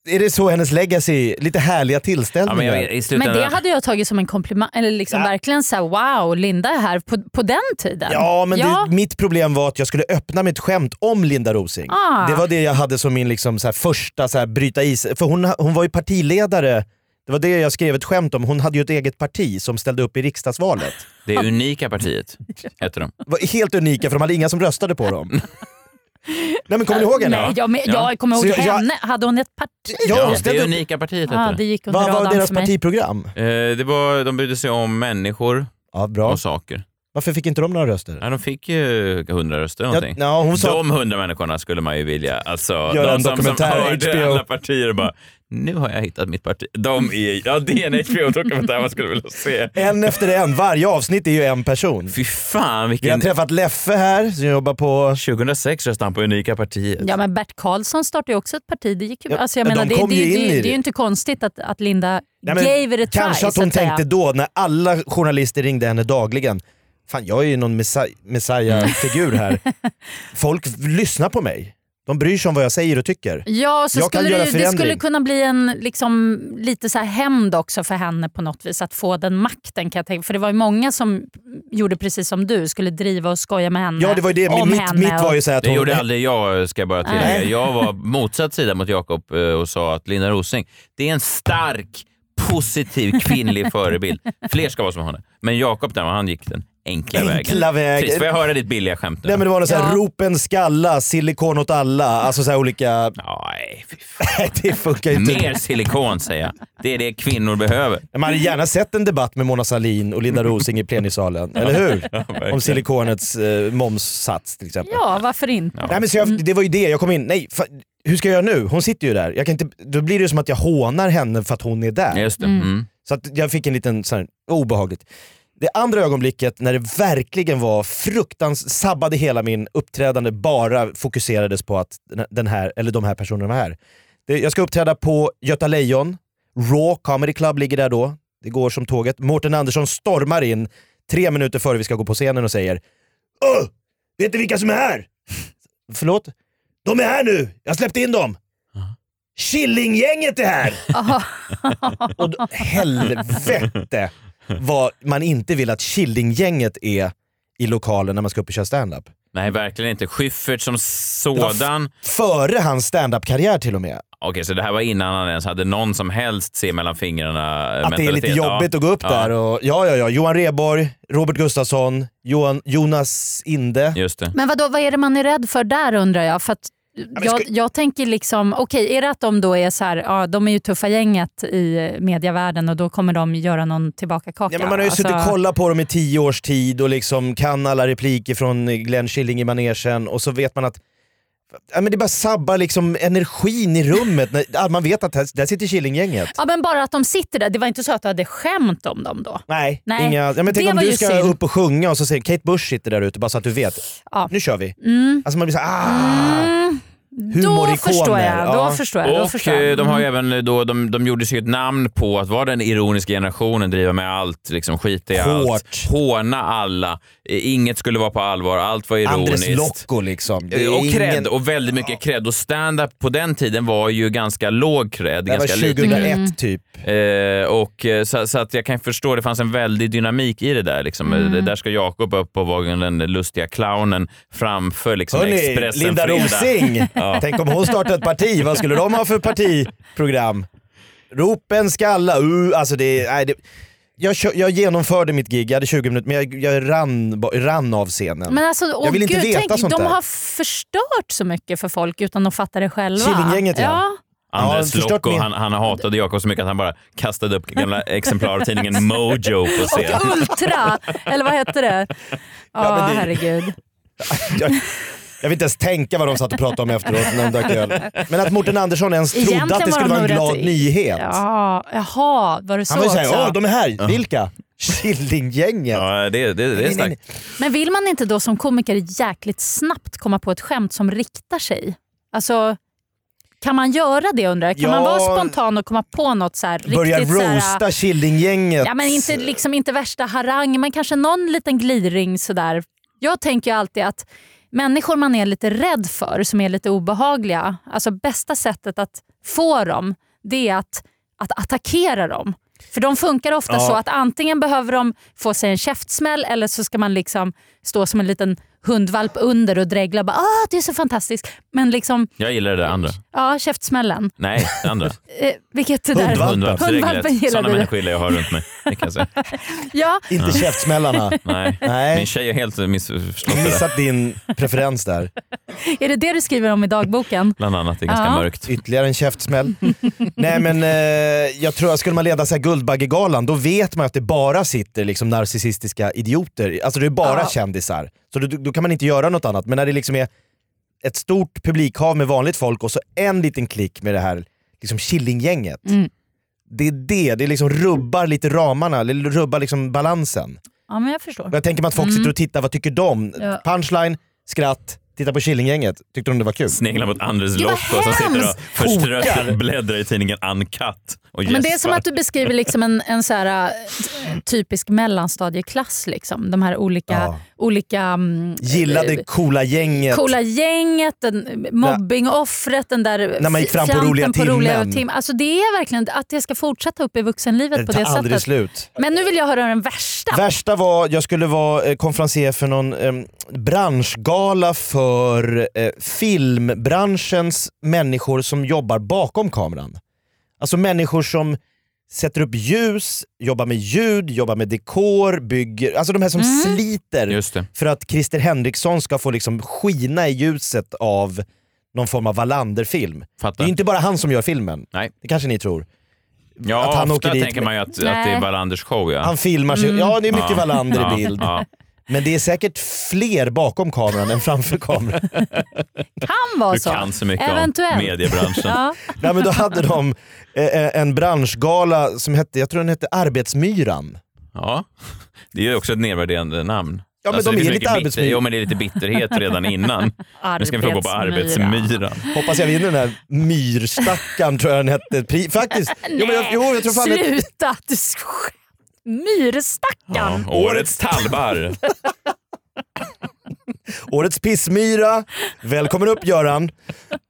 Är det så hennes legacy? Lite härliga
Ja,
tillställningar.
men jag, i
Men
slutändan,
det hade jag tagit som en komplimang, eller liksom verkligen så här, wow, Linda är här på, på den tiden.
Ja, men Det, mitt problem var att jag skulle öppna mitt skämt om Linda Rosing.
Ah.
Det var det jag hade som min liksom så här första så här bryta is. För hon, hon var ju partiledare, det var det jag skrev ett skämt om. Hon hade ju ett eget parti som ställde upp i riksdagsvalet.
det unika partiet heter de.
var helt unika för de hade inga som röstade på dem. Nej men kommer ni ihåg henne?
Nej, jag, men, jag kommer
Så
ihåg
jag- jag-
henne. Hade hon ett parti?
Ja, det unika partiet heter
ah,
det.
det gick under
Vad var
radarn
deras
för mig.
partiprogram?
Eh, det var, de brydde sig om människor och saker.
Varför fick inte de några röster?
Ja, de fick ju hundra röster någonting.
ja, hon sa-
De hundra människorna skulle man ju vilja, alltså,
Göra
de
en dokumentär,
som hörde
HBO.
alla partier och bara, nu har jag hittat mitt parti. De är, ja det är en HBO-dokumentär man skulle vilja se.
En efter en, varje avsnitt är ju en person.
Fy fan vilken...
Vi har träffat Leffe här som jobbar på...
2006 röstade han på Unika partiet.
Ja, men Bert Karlsson startade ju också ett parti. Det, gick ju,
Ja,
alltså jag
de
menar, det, det,
kom ju in
det,
i
det,
det.
är ju inte konstigt att, att Linda
Nej, men
gave it a try.
kanske att
så
hon
säga.
tänkte då när alla journalister ringde henne dagligen. Fan jag är ju någon messi- messiah-figur här. Folk lyssnar på mig. De bryr sig om vad jag säger och tycker.
Ja, så
jag kan
skulle
göra
det, det
förändring.
skulle kunna bli en liksom, lite så här hämnd också för henne på något vis, att få den makten. Kan jag tänka. För det var ju många som gjorde precis som du, skulle driva och skoja med henne.
Ja det var ju det,
om
men mitt,
henne
mitt var ju
och-
så här att
Det
hon...
gjorde aldrig jag, ska jag bara tillägga.
Nej.
Jag var motsatt sida mot Jakob eh, och sa att Linda Rosing, det är en stark, positiv kvinnlig förebild. Fler ska vara som henne. Men Jakob, där, han gick den enkla,
Enkla vägen.
Chris, får jag höra ditt billiga skämt nu?
Nej men det var något såhär, ropen skalla, silikon åt alla, alltså såhär olika...
Nej, fy
fan. det funkar ju inte.
Mer silikon, säger jag. Det är det kvinnor behöver.
Man hade gärna sett en debatt med Mona Sahlin och Linda Rosing i plenisalen, eller hur?
Ja, verkligen.
Om silikonets eh, momssats till exempel.
Ja, varför inte?
Nej, men så jag, det var ju det, jag kom in, nej fa, hur ska jag göra nu? Hon sitter ju där. Jag kan inte, då blir det ju som att jag hånar henne för att hon är där.
Just det. Mm. Mm.
Så att jag fick en liten sån här, obehagligt. Det andra ögonblicket när det verkligen var fruktans sabbade hela min uppträdande bara fokuserades på att den här, eller de här personerna var här. Det, jag ska uppträda på Göta Lejon, Raw Comedy Club ligger där då. Det går som tåget. Mårten Andersson stormar in tre minuter före vi ska gå på scenen och säger Åh! Vet du vilka som är här? Förlåt? De är här nu! Jag släppte in dem! Killinggänget är här! och då, helvete vad man inte vill att Killinggänget är i lokalen när man ska upp och köra standup.
Nej, verkligen inte. Schyffert som
Det var
sådan.
f- före hans standup-karriär till och med.
Okej, så det här var innan han ens hade någon som helst se mellan fingrarna
Att det är lite jobbigt att gå upp där. Och, ja, ja, ja. Johan Rheborg, Robert Gustafsson, Johan, Jonas Inde.
Just det.
Men vadå, vad är det man är rädd för där undrar jag? För att jag, jag tänker liksom, okej är det att de då är så här, ja, de är ju tuffa gänget i medievärlden och då kommer de göra någon tillbakakaka?
Ja, men man har ju suttit
alltså-
och kollat på dem i tio års tid och liksom kan alla repliker från Glenn Killing i manegen och så vet man att ja, men det bara sabbar liksom energin i rummet. när, ja, man vet att här, där sitter Killinggänget.
Ja men bara att de sitter där, det var inte så att du hade skämt om dem då?
Nej,
Nej,
Inga, ja, men
det
tänk om
var
du
ju
ska
synd.
upp och sjunga och så säger Kate Bush sitter där ute bara så att du vet. Nu kör vi. Alltså man blir såhär, ah.
Mm. Då förstår jag. Då förstår jag. Då
och
förstår jag.
eh, de har ju
Mm.
även eh, då, de, de gjorde sig ett namn på att vara den ironiska generationen, driva med allt, liksom skita i allt, håna alla. Eh, Inget skulle vara på allvar, allt var ironiskt.
Andres Locco liksom. Det
Eh,
är
Och cred,
ingen-
och väldigt mycket cred. Och stand-up på den tiden var ju ganska låg cred.
Det här var
ganska lite
2001
cred.
typ.
Eh, och, eh, så, så att jag kan förstå, det fanns en väldig dynamik i det där. Liksom. Eh, Det där ska Jakob upp och vara den lustiga clownen framför liksom,
Hörni,
Expressen
Linda
Fredag.
Rosing.
Ja.
Tänk om hon startade ett parti, vad skulle de ha för partiprogram? Ropen skalla, uh, alltså det, nej, det jag, kö- jag genomförde mitt gig, jag hade 20 minuter, men jag, jag rann, ba- rann av scenen.
Men alltså, åh
jag vill
gud,
inte veta
tänk,
sånt
de
där.
har förstört så mycket för folk utan att fatta det själva.
Killinggänget, ja.
ja.
Anders
Ja, förstört
Locke,
min-
han, han hatade Jakob så mycket att han bara kastade upp gamla exemplar av tidningen Mojo på scen.
Och Ultra, eller vad hette det? Ja,
men det-
herregud.
Jag, jag vill inte ens tänka vad de satt och pratade om efteråt när de drack öl. Men att Morten Andersson ens trodde
Egentligen
att det
var
skulle
de
vara en
nog
glad
rätt i-
nyhet.
Ja, jaha, var det så
Han var ju såhär,
också?
åh de är här, vilka? Killinggänget.
Ja, det, det, det är
Nej, nej,
starkt.
Men vill man inte då som komiker jäkligt snabbt komma på ett skämt som riktar sig? Alltså, kan man göra det undrar jag? Kan
Ja.
man vara spontan och komma på något så här
Börja
riktigt så här-
roasta Killinggänget.
Ja, men inte, liksom, inte värsta harang, men kanske någon liten gliring sådär. Jag tänker ju alltid att människor man är lite rädd för, som är lite obehagliga, alltså bästa sättet att få dem, det är att, att attackera dem. För de funkar ofta
Ja.
så att antingen behöver de få sig en käftsmäll eller så ska man liksom stå som en liten hundvalp under och dregla. och Bara, ah, det är så fantastiskt. Men liksom,
Jag gillar det där andra.
ja, käftsmällen.
Nej, det andra.
Eh, vilket det där... Hundvalpen
Hundvalpsreglet.
gillar
Sådana
du.
människor gillar jag att ha runt mig. Det kan jag säga.
Ja.
Inte käftsmällarna.
Nej.
Nej.
Min tjej har helt missförstått det där.
Missat din preferens där.
Är det det du skriver om i dagboken?
Bland annat, det är
ganska Ja.
mörkt.
Ytterligare en käftsmäll. Nej men eh, jag tror att skulle man leda så här Guldbaggegalan då vet man att det bara sitter liksom narcissistiska idioter. Alltså det är bara
Ja.
kändisar. Så då, då kan man inte göra något annat. Men när det liksom är ett stort publikhav med vanligt folk och så en liten klick med det här liksom Killinggänget.
Mm.
Det är det, det liksom rubbar lite ramarna, det rubbar liksom balansen.
Ja, men jag förstår.
Och jag tänker mig att folk
Mm.
sitter och tittar, vad tycker de?
Ja.
Punchline, skratt, titta på Killinggänget. Tyckte de det var kul?
Sneglar mot Anders
Gud, vad
Locke som sitter och
hemskt! Kokar.
förstrött bläddrar i tidningen Uncut. Och
Men det är som
gäspar.
att du beskriver liksom en, en så här, eh, typisk mellanstadieklass. Liksom. De här olika,
Ja.
olika mm,
Gillade coola gänget.
coola gänget, den, mobbingoffret, den där
När man gick fram på
fjanten
roliga timmen.
tim- Alltså Det är verkligen att det ska fortsätta upp i vuxenlivet på
tar
det
aldrig
sättet.
slut.
Men nu vill jag höra den värsta.
Värsta var, jag skulle vara eh, konferencier för någon eh, branschgala för eh, filmbranschens människor som jobbar bakom kameran. Alltså människor som sätter upp ljus, jobbar med ljud, jobbar med dekor, bygger, alltså de här som
Mm.
sliter
Just det.
för att Christer Henriksson ska få liksom skina i ljuset av någon form av Wallander-film. Det är inte bara han som gör filmen,
Nej.
det kanske ni tror.
Ja,
att han
ofta
åker dit
tänker
med-
man ju att, att det är
Nej.
Wallanders show. Ja.
Han filmar sig.
Mm.
Ja, det är mycket
Ja.
Wallander
Ja.
i bild.
Ja.
Men det är säkert fler bakom kameran än framför kameran.
kan vara
Du
så.
kan så mycket om
Eventuellt.
mediebranschen.
Ja.
Nej, men då hade de eh, eh, en branschgala som hette, jag tror den hette Arbetsmyran.
Ja. Det är ju också ett nedvärderande namn.
Ja, men de
det
är
finns
lite
mycket bit-
arbetsmyra.
Jo, men det är lite bitterhet redan innan. Nu ska vi få gå på arbetsmyran.
Hoppas jag vinner den här myrstackaren tror jag den hette. Pri- faktiskt. Jo, men jag, jo, jag tror fan det-
Sluta! Du sk- Myrstackaren!
Ja, årets talbar.
Årets pissmyra. Välkommen upp Göran.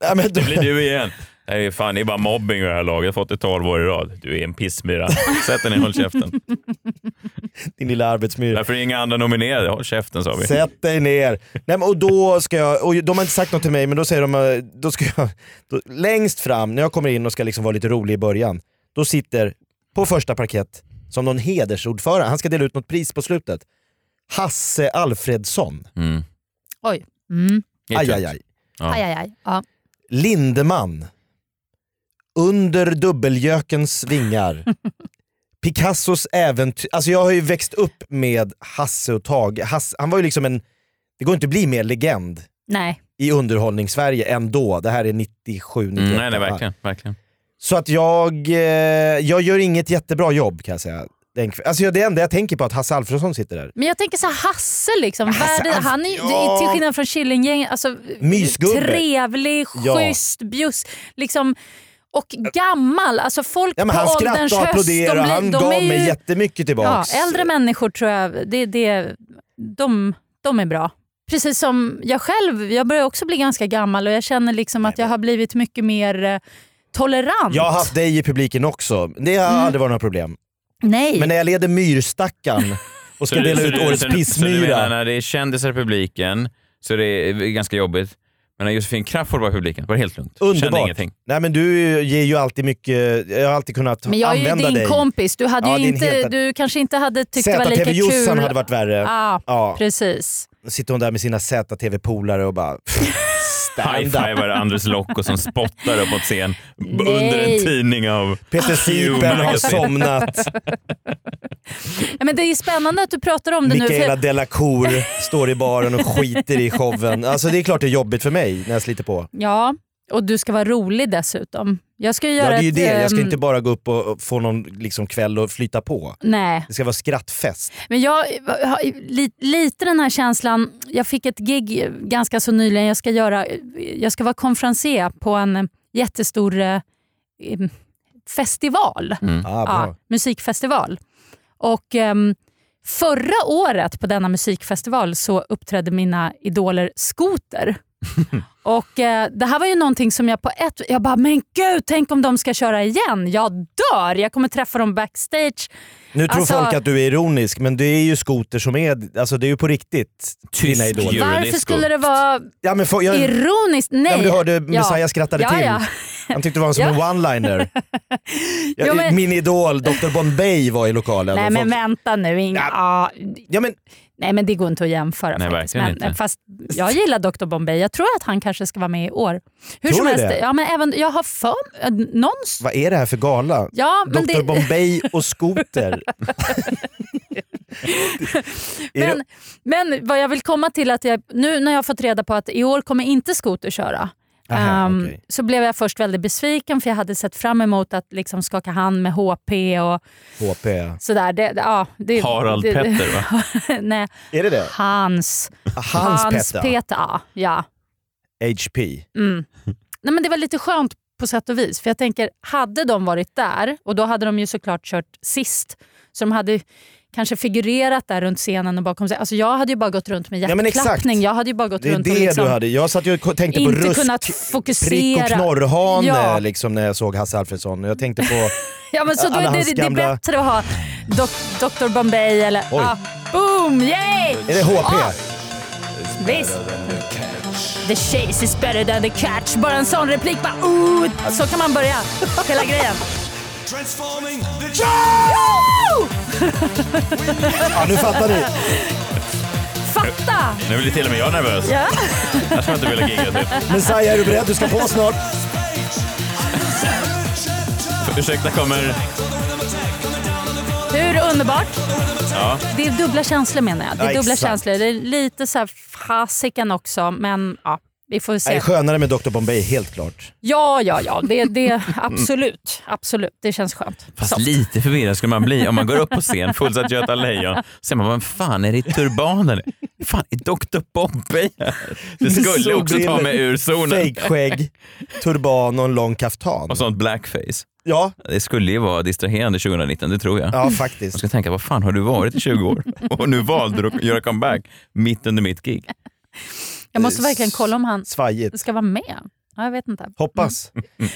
Nej, men
Det blir du igen. Nej, fan, det är bara mobbing i det här laget. Jag har fått det 12 år i rad. Du är en pissmyra. Sätt dig ner och håll käften.
Din lilla arbetsmyra.
Därför är inga andra nominerade. Håll käften sa vi.
Sätt dig ner. Nej, men, och då ska jag, och de har inte sagt något till mig men då säger de, eh, då ska jag, då, längst fram när jag kommer in och ska liksom vara lite rolig i början, då sitter på första parkett som någon hedersordförande, han ska dela ut något pris på slutet, Hasse Alfredsson.
Mm.
Oj. Mm.
Aj, aj, aj.
Aj, aj, aj. Ja.
Lindeman. Under dubbeljökens vingar. Picassos äventyr. Alltså jag har ju växt upp med Hasse och Tage. Hasse, han var ju liksom en, det går inte att bli mer legend
Nej.
i underhållningssverige ändå. Det här är 97, 98.
Mm, nej, nej,
va?
verkligen. verkligen.
Så att jag, eh, jag gör inget jättebra jobb kan jag säga. den kv- Alltså det enda jag tänker på är att Hasse Alfredsson sitter där.
Men jag tänker så här, Hasse liksom.
Hasse,
världen,
Alf-
han är ju,
Ja.
till skillnad från Killinggänget, alltså,
Mysgubbe.
trevlig,
Ja.
schysst, bjuss, liksom och gammal. Alltså folk
Ja, men han
på ålderns
skrattar och
höst,
applåderar
de
och
blir-
han
de
gav
är ju-
mig jättemycket
Ja,
tillbaks.
äldre människor tror jag, det, det, de, de är bra. Precis som jag själv, jag börjar också bli ganska gammal och jag känner liksom att jag har blivit mycket mer eh, tolerant.
Jag har haft dig i publiken också. Det har
Mm.
aldrig varit några problem.
Nej.
Men när jag leder myrstackaren och ska
Så
dela
du-
ut
så du-
årets
så du- Så du menar
pissmyra.
när det är kändisar i publiken så det är ganska jobbigt. Men när Josefin Crafoord var i publiken var det helt lugnt. Kände
Underbart.
ingenting.
Nej men du ger ju alltid mycket, jag har alltid kunnat
Men jag är ju
använda
din
dig.
kompis, du, hade
Ja,
ju
det är en
inte,
helt-
du kanske inte hade tyckt det var lika
ZTV
kul.
Jossan hade varit värre.
Ja,
Ja.
precis.
Då sitter hon där med sina ZTV-polare och bara... Stand up.
High-fivar Anders Locko som spottar upp mot scen b-
Nej.
under en tidning av
Peter Sipen har
Magazine.
somnat.
Ja, men det är spännande att du pratar om det nu.
Mikaela
För
Delacour står i baren och skiter i showen. Alltså det är klart det är jobbigt för mig när jag sliter på.
ja, och du ska vara rolig dessutom. Jag ska ju
Ja
göra
det är ju
ett,
det, jag ska
ehm,
inte bara gå upp och och få någon liksom kväll och flyta på.
Nej.
Det ska vara skrattfest.
Men jag har li, lite den här känslan, jag fick ett gig ganska så nyligen, jag ska, göra, jag ska vara konferencier på en eh, jättestor eh, em, festival.
Mm. Ah, bra.
musikfestival. Och em, Förra året på denna musikfestival så uppträdde mina idoler Skoter. Och eh, Det här var ju någonting som jag på ett... Jag bara, men gud, tänk om de ska köra igen. Jag dör! Jag kommer träffa dem backstage.
Nu tror
Alltså-
folk att du är ironisk men det är ju skoter som är, alltså det är ju på riktigt dina idoler.
Varför skulle det vara
Ja, men får jag-
ironiskt? Nej.
Ja, men du hörde Messiah skrattade
ja,
till.
Ja.
Han tyckte det var som
Ja.
en one-liner. Ja,
men-
Min idol Dr Bombay var i lokalen.
Nej
och
men
folk-
vänta nu. Inga, ja.
men...
Nej men det går inte att jämföra
Nej,
faktiskt.
verkligen
Men, eh,
inte.
Fast jag gillar Dr Bombay. Jag tror att han kanske ska vara med i år. Hur
Tror
som
ni
helst,
det?
ja, men även, jag har för eh, någon...
Vad är det här för gala?
Ja, men
Dr
det-
Bombay och skoter. Är
Men,
det-
men vad jag vill komma till, att jag, nu när jag har fått reda på att i år kommer inte Scooter köra,
Aha,
ehm,
okej.
så blev jag först väldigt besviken för jag hade sett fram emot att liksom skaka hand med HP och
HP.
sådär. Det, det- ja, det,
Harald
det,
Petter, va?
Nej,
Är det det?
Hans.
Hans Petter.
Petter, ja. ja.
HP.
Mm. Nej, men det var lite skönt på sätt och vis. För jag tänker, hade de varit där, och då hade de ju såklart kört sist, så de hade ju kanske figurerat där runt scenen och bakom sig. Alltså jag hade ju bara gått runt med
Ja, men exakt.
hjärtklappning. jag hade ju bara gått
Det är
runt
det
och liksom
du hade. Jag satt ju och ko- tänkte på
inte
rusk,
kunnat
prick
fokusera.
och knorrhane
Ja.
liksom, när jag såg Hasse Alfredsson. Jag tänkte på
Ja, men så då,
alla
är det,
hans
det är
gamla...
bättre att ha dok- Dr Bombay eller...
Oj.
Ah, boom, yay!
Är det HP?
Ah, visst. The chase is better than the catch. Bara en sån replik bara ooh, Så kan man börja hela grejen.
Transforming the
Ja, nu fattar ni.
Fatta!
Nu blir till och med jag nervös.
Ja.
Annars hade jag inte velat gigga. Typ.
Messiah, är du beredd? Du ska på snart.
Ursäkta, kommer...
Hur underbart?
Ja.
Det är dubbla känslor menar jag. Det är
Ja,
dubbla
exakt.
känslor. Det är lite så här fasiken också, men ja, vi får
Det är
se.
skönare med Dr Bombay, helt klart.
Ja, ja, ja. Det, det, absolut. absolut. Det känns skönt.
Mm. Fast lite förvirrad skulle man bli om man går upp på scen fullsatt Göta Lejon. Ser man, vad fan är det i turbanen? Fan, är Dr Bombay här? Det skulle också ta mig ur zonen.
Fejkskägg, turban och en lång kaftan.
Och sånt blackface.
Ja.
Det skulle ju vara distraherande 2019, det tror jag.
Ja, faktiskt.
Man ska tänka, vad fan har du varit i 20 år? Och nu valde du att göra comeback mitt under mitt gig.
Jag måste verkligen kolla om han
svajigt.
ska Mm. vara med. Ja, jag vet
Mm.
inte.
Hoppas.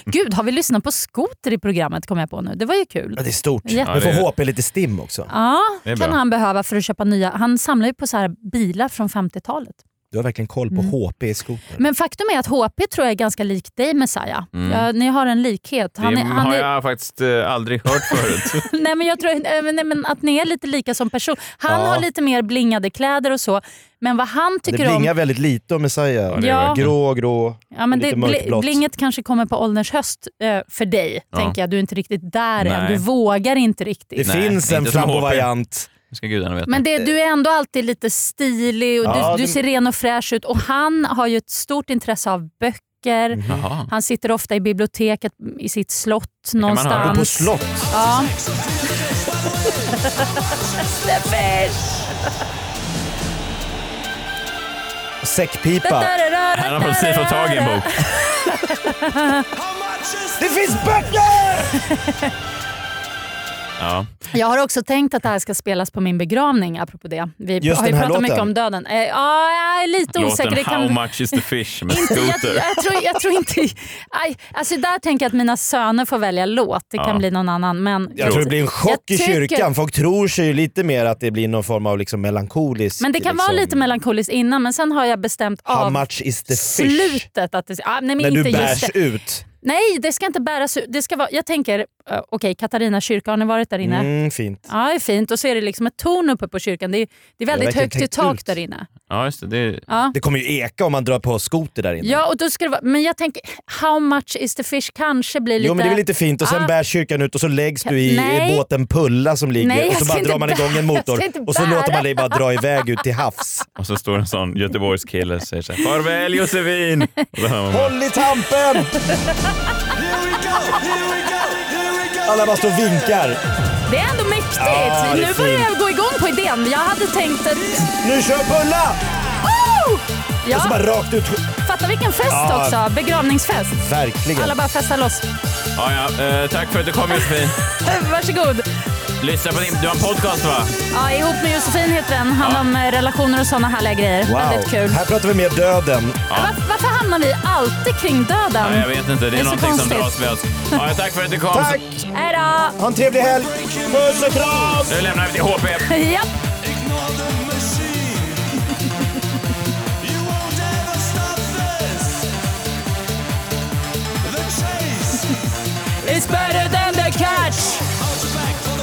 Gud, har vi lyssnat på skoter i programmet kom jag på nu. Det var ju kul.
Ja, det är stort.
Jätte-
Men får HP lite stim också.
Ja,
Det är
kan
bra.
han behöva för att köpa nya. Han samlar ju på så här bilar från 50-talet.
Du har verkligen koll på HP i skoter.
Mm. Men faktum är att HP tror jag är ganska lik dig Messiah.
Mm.
Ja, ni har en likhet. Han
det
är, han
har
är,
jag faktiskt eh, aldrig hört förut.
nej, men jag tror, eh, men- nej, men att ni är lite lika som person. Han
Ja.
har lite mer blingade kläder och så. Men vad han
Det
tycker
blingar
om...
väldigt lite om Messiah.
det gör Ja. det.
Grå, grå,
Ja, men det,
lite
bli-
mörkblått.
blinget kanske kommer på ålderns höst eh, för dig.
Ja.
Tänker jag. Du är inte riktigt där än.
Nej.
Du vågar inte riktigt.
Det finns en flamboyant.
Det ska gudarna veta.
Men det, du är ändå alltid lite stilig och
Ja,
du, du
det-
ser ren och fräsch ut. Och Han har ju ett stort intresse av böcker.
Mhm.
Jaha.
Han sitter ofta i biblioteket i sitt slott
man ha.
någonstans.
Och på slott.
Ja. The fish!
Säckpipa.
Han har precis fått tag i en bok.
Det finns böcker!
Ja.
Jag har också tänkt att det här ska spelas på min begravning, apropå det. Vi
Just
har ju
den här
pratat mycket
låten?
om döden. Eh, Ja, jag är lite osäker.
Låten
Det
How
kan...
much is the fish med
Inte, jag,
Scooter.
jag, tror, jag tror inte... Aj, alltså där tänker jag att mina söner får välja låt. Det kan
Ja.
bli någon annan. Men
Jag tror det blir en chock
Jag
i
tycker-
kyrkan. Folk tror sig ju lite mer att det blir någon form av liksom melankolisk...
Men det kan vara
liksom,
lite melankoliskt innan, men sen har jag bestämt
How
av
much is the fish?
slutet att det, ah, nej, men
när
inte
du bärs
just det.
ut.
Nej, det ska inte bäras ut. Det ska vara, jag tänker, eh, okej Katarina kyrka, har ni varit där inne?
Mm, fint.
Ja, det är fint. Och så är det liksom ett torn uppe på kyrkan. Det är, det
Jag
är väldigt
har verkligen
högt
tänkt
i tak
ut.
där inne.
Ja, just det. Det,
Ja.
kommer ju eka om man drar på skoter där inne.
Ja, och då ska det vara, men jag tänker, how much is the fish kanske blir lite...
Jo men det är väl lite fint och sen
Ah.
bärs kyrkan ut och så läggs du i
Nej.
båten Pulla som ligger
Nej, jag
och så
ska
bara
inte
drar man igång
bära-
en
jag
motor
ska inte
och så
bära.
låter man dig bara dra iväg ut till havs.
Och så står en sån Göteborgskille och säger så här, farväl Josefin! Och så hör man bara,
Håll i tampen! Alla bara står och vinkar.
Det är ändå mäktigt.
Ja, det är
nu börjar jag
fint.
gå igång på idén. Jag hade tänkt att...
Nu kör Pulla!
Oh!
Och så
Ja.
bara rakt ut.
Fatta vilken fest
Ja.
också. Begravningsfest.
Verkligen.
Alla bara festar loss.
ja, ja, eh, tack för att du kom Josefin.
Varsågod.
Lyssna på din, du har en podcast va?
Ja, ihop med Josefin heter den. Handlar om eh, relationer och sådana härliga grejer. Väldigt kul.
Här pratar vi mer döden.
Var, varför hamnar vi alltid kring döden?
Ja, jag vet inte, det är,
så
någonting som
konstigt.
dras vid oss. Ja, tack för att du kom.
Tack. Hej då!
Ha en trevlig helg! Puss och kram!
Nu lämnar vi till HP.
Japp. It's better than the catch!